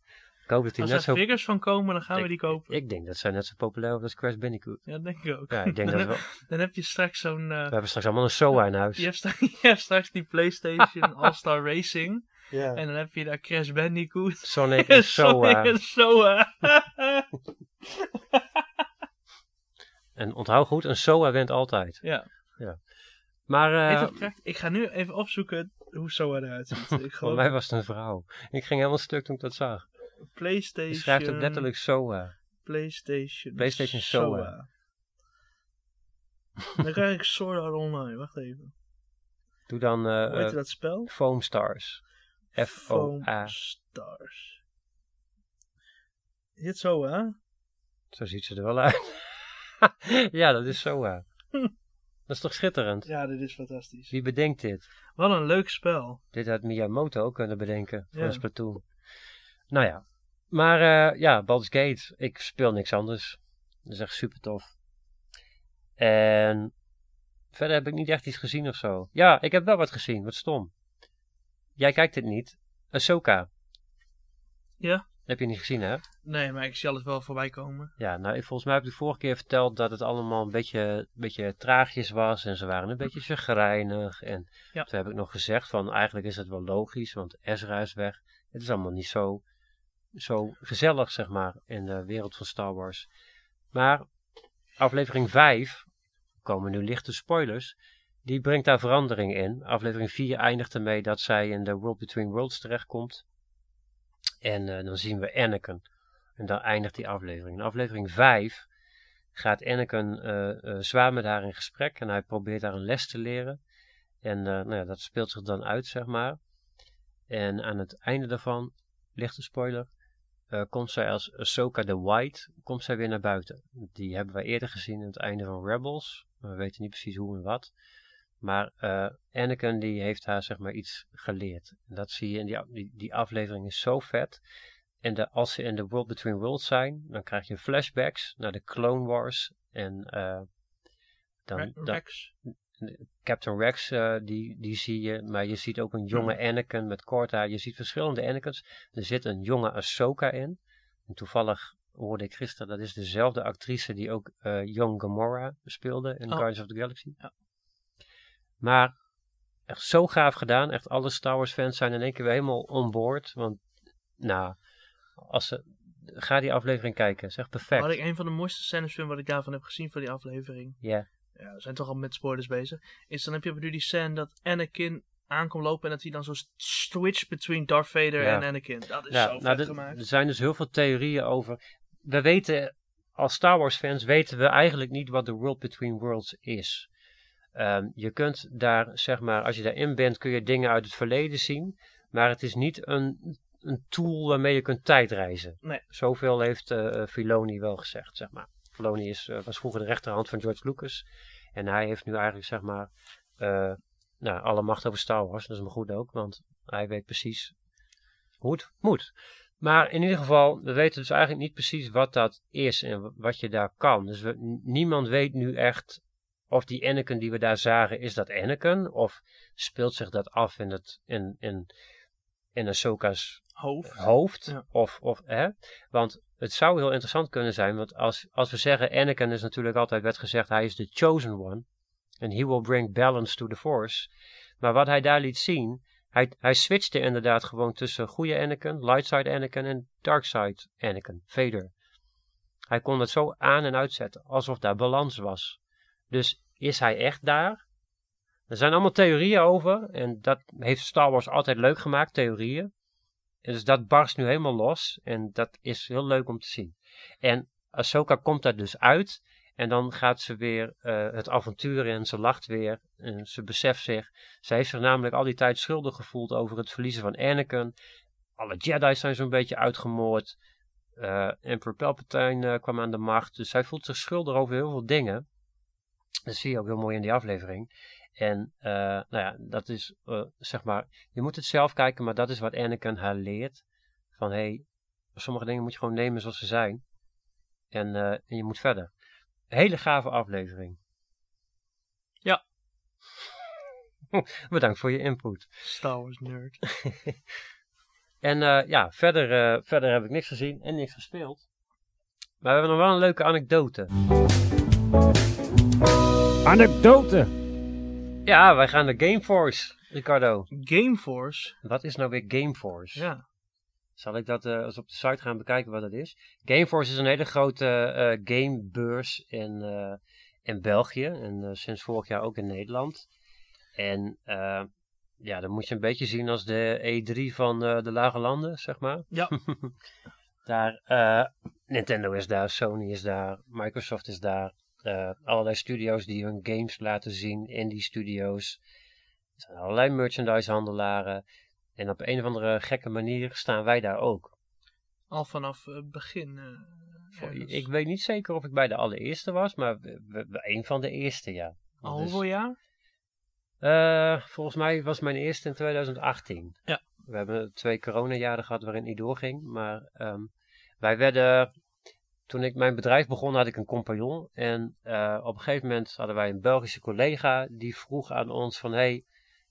Speaker 2: Ik hoop dat hij
Speaker 1: als
Speaker 2: net
Speaker 1: er
Speaker 2: zo...
Speaker 1: figures van komen, dan gaan we die kopen.
Speaker 2: Ik denk dat zij net zo populair wordt als Crash Bandicoot.
Speaker 1: Ja, dat denk ik ook.
Speaker 2: Ja, ik denk dat we...
Speaker 1: Dan heb je straks zo'n. eh,
Speaker 2: We hebben straks allemaal een Soa in huis.
Speaker 1: je, hebt straks, je hebt straks die PlayStation All-Star Racing.
Speaker 2: Ja. eh.
Speaker 1: En dan heb je daar Crash Bandicoot. eh.
Speaker 2: Sonic en Soa.
Speaker 1: Sonic en Soa.
Speaker 2: En onthoud goed, een Soa wint altijd.
Speaker 1: Ja.
Speaker 2: Maar eh,
Speaker 1: Even krijgt- ik ga nu even opzoeken hoe Soa eruit ziet. Ik
Speaker 2: voor
Speaker 1: geloof
Speaker 2: mij was het een vrouw. Ik ging helemaal stuk toen ik dat zag. Je
Speaker 1: PlayStation.
Speaker 2: schrijft ook letterlijk eh. Soa.
Speaker 1: PlayStation.
Speaker 2: PlayStation Soa.
Speaker 1: Dan krijg ik Sword Art Online. Wacht even.
Speaker 2: Doe dan eh,
Speaker 1: Hoe heet
Speaker 2: eh,
Speaker 1: dat spel?
Speaker 2: Foam Stars. F-O-A.
Speaker 1: Foam Stars. Is dit zo, hè?
Speaker 2: Zo ziet ze er wel uit. ja, dat is zo. eh. dat is toch schitterend?
Speaker 1: Ja, dit is fantastisch.
Speaker 2: Wie bedenkt dit?
Speaker 1: Wat een leuk spel.
Speaker 2: Dit had Miyamoto ook kunnen bedenken voor
Speaker 1: Ja.
Speaker 2: een Splatoon. Nou ja. Maar eh, ja, Baldur's Gate. Ik speel niks anders. Dat is echt super tof. En verder heb ik niet echt iets gezien of zo. Ja, ik heb wel wat gezien. Wat stom. Jij kijkt dit niet. Ahsoka.
Speaker 1: Ja.
Speaker 2: Heb je niet gezien, hè?
Speaker 1: Nee, maar ik zie alles wel voorbij komen.
Speaker 2: Ja, nou, ik- volgens mij heb ik de vorige keer verteld dat het allemaal een beetje, een beetje traagjes was. En ze waren een beetje chagrijnig. En
Speaker 1: Ja.
Speaker 2: toen heb ik nog gezegd van, eigenlijk is het wel logisch, want Ezra is weg. Het is allemaal niet zo, zo gezellig, zeg maar, in de wereld van Star Wars. Maar aflevering 5, komen nu lichte spoilers, die brengt daar verandering in. Aflevering 4 eindigt ermee dat zij in de World Between Worlds terechtkomt. En eh, dan zien we Anakin. En dan eindigt die aflevering. In aflevering 5 gaat Anakin eh, eh, zwaar met haar in gesprek en hij probeert haar een les te leren. En eh, nou ja, dat speelt zich dan uit, zeg maar. En aan het einde daarvan, lichte spoiler, eh, komt zij als Ahsoka the White, komt zij weer naar buiten. Die hebben wij eerder gezien aan het einde van Rebels. We weten niet precies hoe en wat. Maar eh Anakin die heeft haar zeg maar iets geleerd. En dat zie je in die, af- die, die aflevering is zo vet. En de, als ze in de World Between Worlds zijn, dan krijg je flashbacks naar de Clone Wars. En eh, dan,
Speaker 1: Re-
Speaker 2: dan,
Speaker 1: Rex.
Speaker 2: Captain Rex, eh, die, die zie je. Maar je ziet ook een jonge Anakin met kort haar. Je ziet verschillende Anakins. Er zit een jonge Ahsoka in. En toevallig hoorde ik gisteren, dat is dezelfde actrice die ook eh Young Gamora speelde in
Speaker 1: Oh.
Speaker 2: Guardians of the Galaxy.
Speaker 1: Ja.
Speaker 2: Maar echt zo gaaf gedaan. Echt alle Star Wars fans zijn in één keer weer helemaal on board. Want, nou, als ze, ga die aflevering kijken. Het is echt perfect.
Speaker 1: Wat ik een van de mooiste scènes vind wat ik daarvan heb gezien van die aflevering.
Speaker 2: Ja.
Speaker 1: Ja, we zijn toch al met spoilers bezig. Is dan heb je nu die scène dat Anakin aankomt lopen en dat hij dan zo st- switcht between Darth Vader
Speaker 2: Ja.
Speaker 1: en Anakin. Dat is
Speaker 2: Ja,
Speaker 1: zo
Speaker 2: nou,
Speaker 1: vet
Speaker 2: er-
Speaker 1: gemaakt.
Speaker 2: er zijn dus heel veel theorieën over. We weten, als Star Wars fans, weten we eigenlijk niet wat de World Between Worlds is. Ehm, je kunt daar, zeg maar, als je daarin bent, kun je dingen uit het verleden zien. Maar het is niet een, een tool waarmee je kunt tijdreizen.
Speaker 1: Nee.
Speaker 2: Zoveel heeft eh Filoni wel gezegd, zeg maar. Filoni is, eh, was vroeger de rechterhand van George Lucas. En hij heeft nu eigenlijk, zeg maar, eh, nou, alle macht over Star Wars. Dat is maar goed ook, want hij weet precies hoe het moet. Maar in ieder geval, we weten dus eigenlijk niet precies wat dat is en w- wat je daar kan. Dus we, n- niemand weet nu echt of die Anakin die we daar zagen, is dat Anakin? Of speelt zich dat af in, het, in, in, in Ahsoka's
Speaker 1: Hoofd.
Speaker 2: hoofd.
Speaker 1: Ja.
Speaker 2: Of, of, hè? Want het zou heel interessant kunnen zijn, want als, als we zeggen, Anakin is natuurlijk altijd werd gezegd, hij is de chosen one. En he will bring balance to the force. Maar wat hij daar liet zien, hij, hij switchte inderdaad gewoon tussen goede Anakin, light side Anakin en dark side Anakin, Vader. Hij kon het zo aan en uitzetten, alsof daar balans was. Dus is hij echt daar? Er zijn allemaal theorieën over en dat heeft Star Wars altijd leuk gemaakt, theorieën. En Dus dat barst nu helemaal los en dat is heel leuk om te zien. En Ahsoka komt daar dus uit en dan gaat ze weer eh, het avontuur in, ze lacht weer, en ze beseft zich. Ze heeft zich namelijk al die tijd schuldig gevoeld over het verliezen van Anakin. Alle Jedi's zijn zo'n beetje uitgemoord. Eh Emperor Palpatine eh, kwam aan de macht, dus zij voelt zich schuldig over heel veel dingen. Dat zie je ook heel mooi in die aflevering. En eh, nou ja, dat is eh, zeg maar je moet het zelf kijken, maar dat is wat Anakin haar leert. Van hé, hey, sommige dingen moet je gewoon nemen zoals ze zijn. En, eh, en je moet verder. Hele gave aflevering.
Speaker 1: Ja.
Speaker 2: Bedankt voor je input.
Speaker 1: Star Wars nerd.
Speaker 2: En eh, ja, verder, eh, verder heb ik niks gezien en niks gespeeld. Maar we hebben nog wel een leuke anekdote.
Speaker 3: Anekdote.
Speaker 2: Ja, wij gaan naar Gameforce, Ricardo.
Speaker 1: Gameforce.
Speaker 2: Wat is nou weer Gameforce?
Speaker 1: Ja.
Speaker 2: Zal ik dat eh, eens op de site gaan bekijken wat dat is? Gameforce is een hele grote eh, gamebeurs in, eh, in België. En eh, sinds vorig jaar ook in Nederland. En eh, ja, dat moet je een beetje zien als de E3 van eh, de Lage Landen, zeg maar.
Speaker 1: Ja.
Speaker 2: daar, eh, Nintendo is daar, Sony is daar, Microsoft is daar. eh, allerlei studio's die hun games laten zien, indie studio's. Er zijn allerlei merchandisehandelaren. En op een of andere gekke manier staan wij daar ook.
Speaker 1: Al vanaf het begin. eh,
Speaker 2: Voor-
Speaker 1: ergens.
Speaker 2: Ik weet niet zeker of ik bij de allereerste was, maar we- we- we- een van de eerste, ja.
Speaker 1: Al
Speaker 2: Dus,
Speaker 1: hoeveel jaar?
Speaker 2: eh, volgens mij was mijn eerste in 2018.
Speaker 1: Ja.
Speaker 2: We hebben twee coronajaren gehad waarin het niet doorging. Maar ehm, wij werden... Toen ik mijn bedrijf begon had ik een compagnon. En eh, op een gegeven moment hadden wij een Belgische collega. Die vroeg aan ons van... Hey,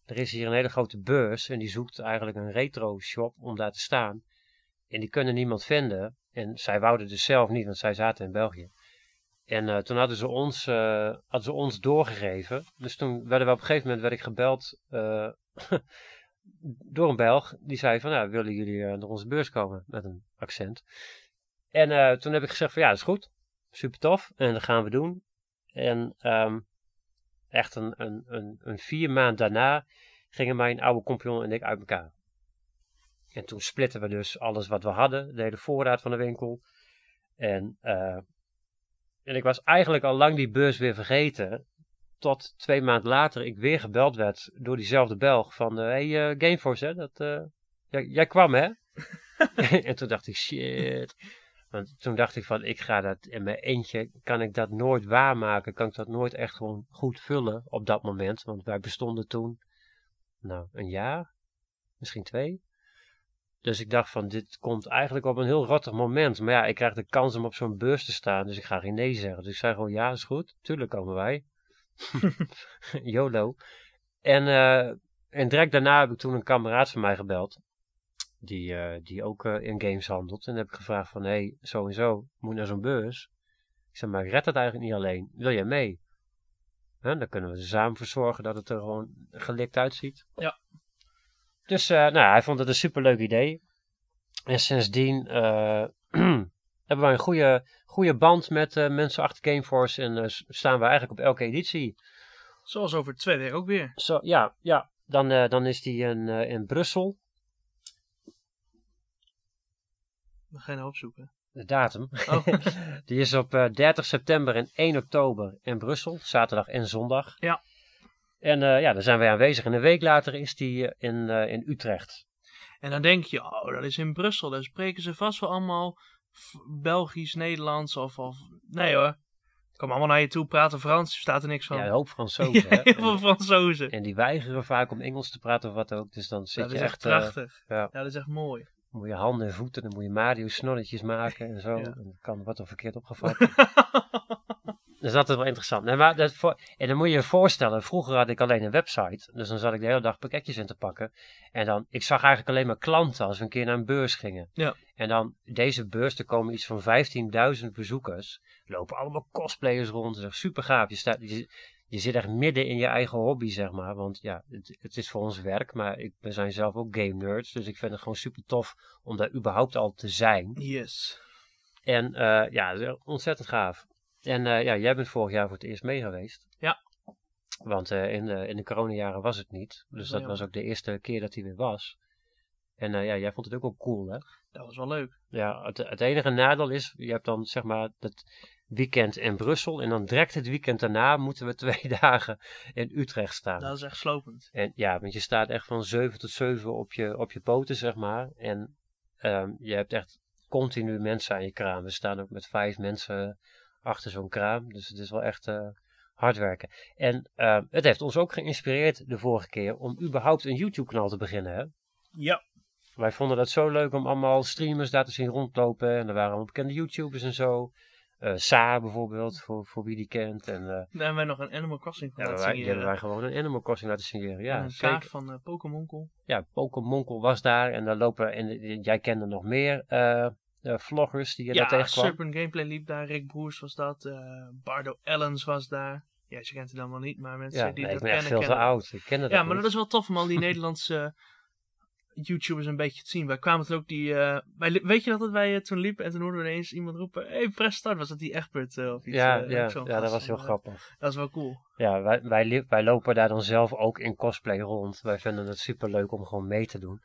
Speaker 2: er is hier een hele grote beurs. En die zoekt eigenlijk een retro shop om daar te staan. En die kunnen niemand vinden. En zij wouden dus zelf niet, want zij zaten in België. En eh, toen hadden ze, ons, eh, hadden ze ons doorgegeven. Dus toen werden we op een gegeven moment werd ik gebeld eh, door een Belg. Die zei van, nou, willen jullie eh, naar onze beurs komen? Met een accent. En eh, toen heb ik gezegd van, ja, dat is goed. Super tof. En dat gaan we doen. En ehm, echt een, een, een, een vier maand daarna gingen mijn oude compagnon en ik uit elkaar. En toen splitten we dus alles wat we hadden. De hele voorraad van de winkel. En... eh, en ik was eigenlijk al lang die beurs weer vergeten. Tot twee maanden later ik weer gebeld werd door diezelfde Belg. Van, eh, hey eh, Gameforce hè, dat, eh, jij, jij kwam hè? en toen dacht ik, shit. Want toen dacht ik van, ik ga dat in mijn eentje, kan ik dat nooit waarmaken? Kan ik dat nooit echt gewoon goed vullen op dat moment? Want wij bestonden toen, nou, een jaar, misschien twee. Dus ik dacht van, dit komt eigenlijk op een heel rottig moment. Maar ja, ik krijg de kans om op zo'n beurs te staan, dus ik ga geen nee zeggen. Dus ik zei gewoon, ja, is goed, tuurlijk komen wij. YOLO. En, eh, en direct daarna heb ik toen een kameraad van mij gebeld. Die, eh, die ook eh, in games handelt. En heb ik gevraagd van, hé, hey, zo en zo, moet naar zo'n beurs. Ik zei, maar ik red dat eigenlijk niet alleen. Wil jij mee? Hè, dan kunnen we er samen voor zorgen dat het er gewoon gelikt uitziet.
Speaker 1: Ja.
Speaker 2: Dus eh, nou, hij vond het een superleuk idee. En sindsdien eh, hebben wij een goede goede band met eh, mensen achter Gameforce en eh, s- staan we eigenlijk op elke editie.
Speaker 1: Zoals over twee weken ook weer.
Speaker 2: Zo, ja, ja. Dan, eh, dan is die in, eh, in Brussel.
Speaker 1: We gaan haar opzoeken.
Speaker 2: De datum.
Speaker 1: Oh.
Speaker 2: die is op eh, 30 september en 1 oktober in Brussel. Zaterdag en zondag.
Speaker 1: Ja.
Speaker 2: En eh, ja, daar zijn wij aanwezig. En een week later is die eh, in, eh, in Utrecht.
Speaker 1: En dan denk je, oh, dat is in Brussel. Daar spreken ze vast wel allemaal F- Belgisch, Nederlands of, of... Nee hoor. Kom allemaal naar je toe, praten Frans. Er staat er niks van.
Speaker 2: Ja, een
Speaker 1: Ja,
Speaker 2: hoop Fransozen. hè.
Speaker 1: heel veel Fransozen.
Speaker 2: En die weigeren vaak om Engels te praten of wat ook. Dus dan zit
Speaker 1: dat
Speaker 2: je
Speaker 1: is echt
Speaker 2: echt eh,
Speaker 1: prachtig.
Speaker 2: ja.
Speaker 1: ja. dat is echt mooi.
Speaker 2: moet je handen en voeten, dan moet je Mario snorretjes maken en zo.
Speaker 1: Ja.
Speaker 2: En dan kan wat dan verkeerd opgevat. dus dat is wel interessant. Nee, maar dat voor, en dan moet je je voorstellen, vroeger had ik alleen een website. Dus dan zat ik de hele dag pakketjes in te pakken. En dan, ik zag eigenlijk alleen maar klanten als we een keer naar een beurs gingen.
Speaker 1: Ja.
Speaker 2: En dan, deze beurs, er komen iets van 15.000 bezoekers. Er lopen allemaal cosplayers rond. Dat is echt super gaaf. Je, staat, je, je zit echt midden in je eigen hobby, zeg maar. Want ja, het, het is voor ons werk, maar ik, we zijn zelf ook game nerds. Dus ik vind het gewoon super tof om daar überhaupt al te zijn.
Speaker 1: Yes.
Speaker 2: En eh, ja, het is echt ontzettend gaaf. En eh, ja, jij bent vorig jaar voor het eerst mee geweest.
Speaker 1: Ja.
Speaker 2: Want eh, in, de, in de coronajaren was het niet. Dus dat
Speaker 1: Ja.
Speaker 2: was ook de eerste keer dat hij weer was. En eh, ja, jij vond het ook wel cool, hè?
Speaker 1: Dat was wel leuk.
Speaker 2: Ja, het, het enige nadeel is, je hebt dan zeg maar dat weekend in Brussel. En dan direct het weekend daarna moeten we twee dagen in Utrecht staan.
Speaker 1: Dat is echt slopend.
Speaker 2: En ja, want je staat echt van 7 tot 7 op je, op je poten, zeg maar. En ehm, je hebt echt continu mensen aan je kraam. We staan ook met vijf mensen achter zo'n kraam. Dus het is wel echt eh, hard werken. En ehm, het heeft ons ook geïnspireerd de vorige keer om überhaupt een YouTube-kanaal te beginnen. Hè?
Speaker 1: Ja.
Speaker 2: Wij vonden dat zo leuk om allemaal streamers daar te zien rondlopen. En er waren allemaal bekende YouTubers en zo. Eh Sa bijvoorbeeld, voor, voor wie die kent. En eh,
Speaker 1: Daar hebben wij nog een Animal Crossing van
Speaker 2: ja,
Speaker 1: laten
Speaker 2: wij,
Speaker 1: zien
Speaker 2: die
Speaker 1: hier. eh,
Speaker 2: hebben wij gewoon een Animal Crossing laten signeren. Ja,
Speaker 1: En een
Speaker 2: zeker
Speaker 1: kaart van eh Pokémonkel.
Speaker 2: ja, Pokemonkel was daar en daar lopen, en eh, jij kende nog meer eh, eh, vloggers die je daar
Speaker 1: Ja,
Speaker 2: tegenkwam.
Speaker 1: Serpent Gameplay liep daar. Rick Broers was dat. eh, Bardo Ellens was daar. Ja, ze kent het dan wel niet, maar mensen
Speaker 2: ja,
Speaker 1: die
Speaker 2: nee, ik
Speaker 1: dat
Speaker 2: ben
Speaker 1: kennen,
Speaker 2: echt veel te
Speaker 1: kennen
Speaker 2: oud. Ik ken dat
Speaker 1: Ja,
Speaker 2: ook
Speaker 1: maar
Speaker 2: niet.
Speaker 1: dat is wel tof om al die Nederlandse eh, YouTubers een beetje te zien. Wij kwamen toen ook die... eh, wij, li- weet je nog dat wij eh, toen liepen en toen hoorden we ineens iemand roepen... hey, press start. Was dat die Egbert eh, of iets?
Speaker 2: ja,
Speaker 1: eh,
Speaker 2: ja,
Speaker 1: ook zo'n
Speaker 2: ja, dat
Speaker 1: gast
Speaker 2: was heel
Speaker 1: van, eh,
Speaker 2: grappig.
Speaker 1: Dat is wel cool.
Speaker 2: Ja, wij, wij, li- wij lopen daar dan zelf ook in cosplay rond. Wij vinden het superleuk om gewoon mee te doen.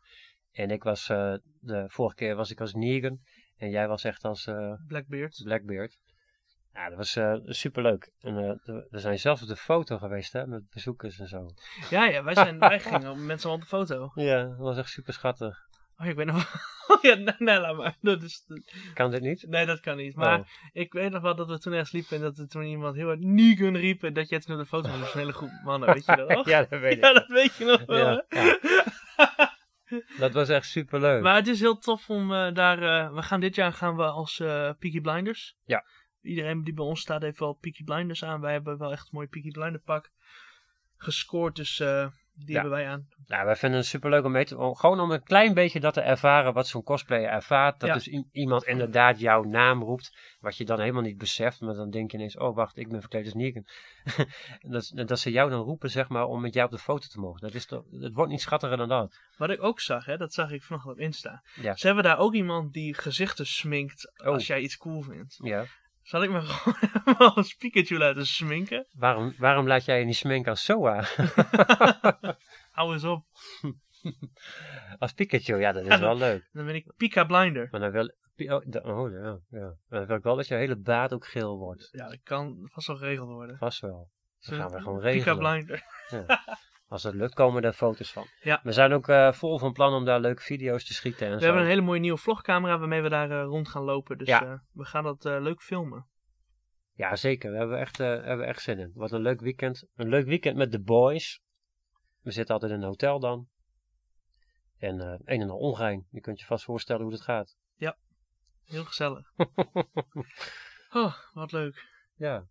Speaker 2: En ik was, eh, de vorige keer was ik als Negan en jij was echt als eh,
Speaker 1: Blackbeard.
Speaker 2: Blackbeard. Ja, dat was eh, superleuk. En eh, we- we zijn zelfs op de foto geweest, hè, met bezoekers en zo.
Speaker 1: Ja, ja, wij, zijn, wij gingen met z'n allen op de foto.
Speaker 2: Ja, dat was echt super schattig.
Speaker 1: Oh, ik weet nog wel... ja, nee, nee, laat maar. Dat is,
Speaker 2: Kan dit niet?
Speaker 1: nee, dat kan niet. Maar
Speaker 2: Oh.
Speaker 1: ik weet nog wel dat we toen ergens liepen... en dat er toen iemand heel hard Negan riep... en dat jij toen op de foto was met een hele groep mannen. Weet je dat nog?
Speaker 2: ja, dat weet ik.
Speaker 1: Ja, dat weet je nog wel,
Speaker 2: Oh, Ja,
Speaker 1: hè?
Speaker 2: Dat was echt superleuk.
Speaker 1: eh, Maar het is heel tof om eh, daar. eh, we gaan dit jaar gaan we als eh Peaky Blinders.
Speaker 2: Ja.
Speaker 1: Iedereen die bij ons staat heeft wel Peaky Blinders aan. Wij hebben wel echt een mooi Peaky Blinder pak gescoord. Dus eh, die
Speaker 2: Ja.
Speaker 1: hebben wij aan.
Speaker 2: Nou, wij vinden het superleuk om mee te... om- Gewoon om een klein beetje dat te ervaren wat zo'n cosplayer ervaart. Dat
Speaker 1: Ja.
Speaker 2: dus i- iemand inderdaad jouw naam roept. Wat je dan helemaal niet beseft. Maar dan denk je ineens, oh wacht, ik ben verkleed als Negan. En dat, dat ze jou dan roepen, zeg maar, om met jou op de foto te mogen. Dat, is toch, het wordt niet schattiger dan dat.
Speaker 1: Wat ik ook zag, hè, dat zag ik vanochtend op Insta.
Speaker 2: Ja.
Speaker 1: Ze hebben daar ook iemand die gezichten sminkt
Speaker 2: Oh.
Speaker 1: als jij iets cool vindt.
Speaker 2: Ja.
Speaker 1: Zal ik me gewoon helemaal als Pikachu laten sminken?
Speaker 2: Waarom, waarom laat jij je niet sminken als Soa?
Speaker 1: Hou eens op.
Speaker 2: als Pikachu? Ja, dat is
Speaker 1: Ja,
Speaker 2: wel leuk.
Speaker 1: Dan ben ik Pika Blinder.
Speaker 2: Maar dan wil... Pi- Oh, da- oh, ja, ja. Maar Dan wil ik wel dat je hele baard ook geel wordt.
Speaker 1: Ja, dat kan vast wel geregeld worden.
Speaker 2: Vast wel. Dat gaan we gewoon
Speaker 1: Pika
Speaker 2: regelen.
Speaker 1: Blinder.
Speaker 2: Als dat lukt, komen daar foto's van.
Speaker 1: Ja.
Speaker 2: We zijn ook eh, vol van plan om daar leuke video's te schieten en
Speaker 1: We
Speaker 2: zo.
Speaker 1: hebben een hele mooie nieuwe vlogcamera waarmee we daar eh, rond gaan lopen. Dus
Speaker 2: Ja.
Speaker 1: eh, we gaan dat eh, leuk filmen.
Speaker 2: Ja, zeker. We hebben echt, eh, hebben echt zin in. Wat een leuk weekend. Een leuk weekend met de boys. We zitten altijd in een hotel dan. En eh een en al ongein. Je kunt je vast voorstellen hoe dat gaat.
Speaker 1: Heel gezellig. Oh, wat leuk.
Speaker 2: ja.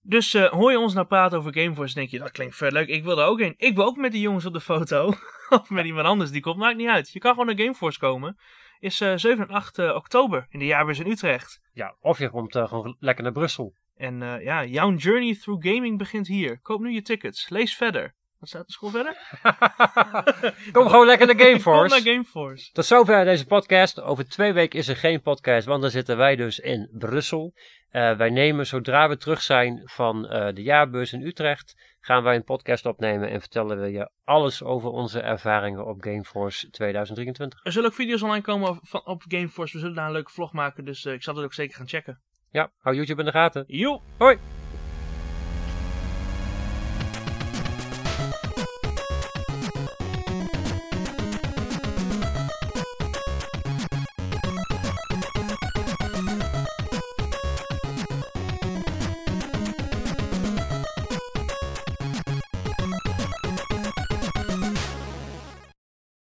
Speaker 1: Dus eh, hoor je ons nou praten over Gameforce, denk je, dat klinkt vet leuk. Ik wil er ook een. Ik wil ook met die jongens op de foto. of met iemand anders die komt. Maakt niet uit. Je kan gewoon naar Gameforce komen. Is eh 7 en 8 eh, oktober in de jaarbeurs in Utrecht.
Speaker 2: Ja, of je komt eh, gewoon lekker naar Brussel.
Speaker 1: En eh, ja, jouw journey through gaming begint hier. Koop nu je tickets. Lees verder. Wat staat de school verder?
Speaker 2: Kom gewoon lekker naar
Speaker 1: Kom
Speaker 2: Gameforce.
Speaker 1: naar Gameforce.
Speaker 2: Tot zover deze podcast. Over twee weken is er geen podcast, want dan zitten wij dus in Brussel. Eh, wij nemen, zodra we terug zijn van eh, de jaarbeurs in Utrecht, gaan wij een podcast opnemen en vertellen we je alles over onze ervaringen op Gameforce 2023.
Speaker 1: Er zullen ook video's online komen op, van, op Gameforce. We zullen daar een leuke vlog maken. Dus eh, ik zal dat ook zeker gaan checken.
Speaker 2: Ja, hou YouTube in de gaten.
Speaker 1: Joep!
Speaker 2: Hoi!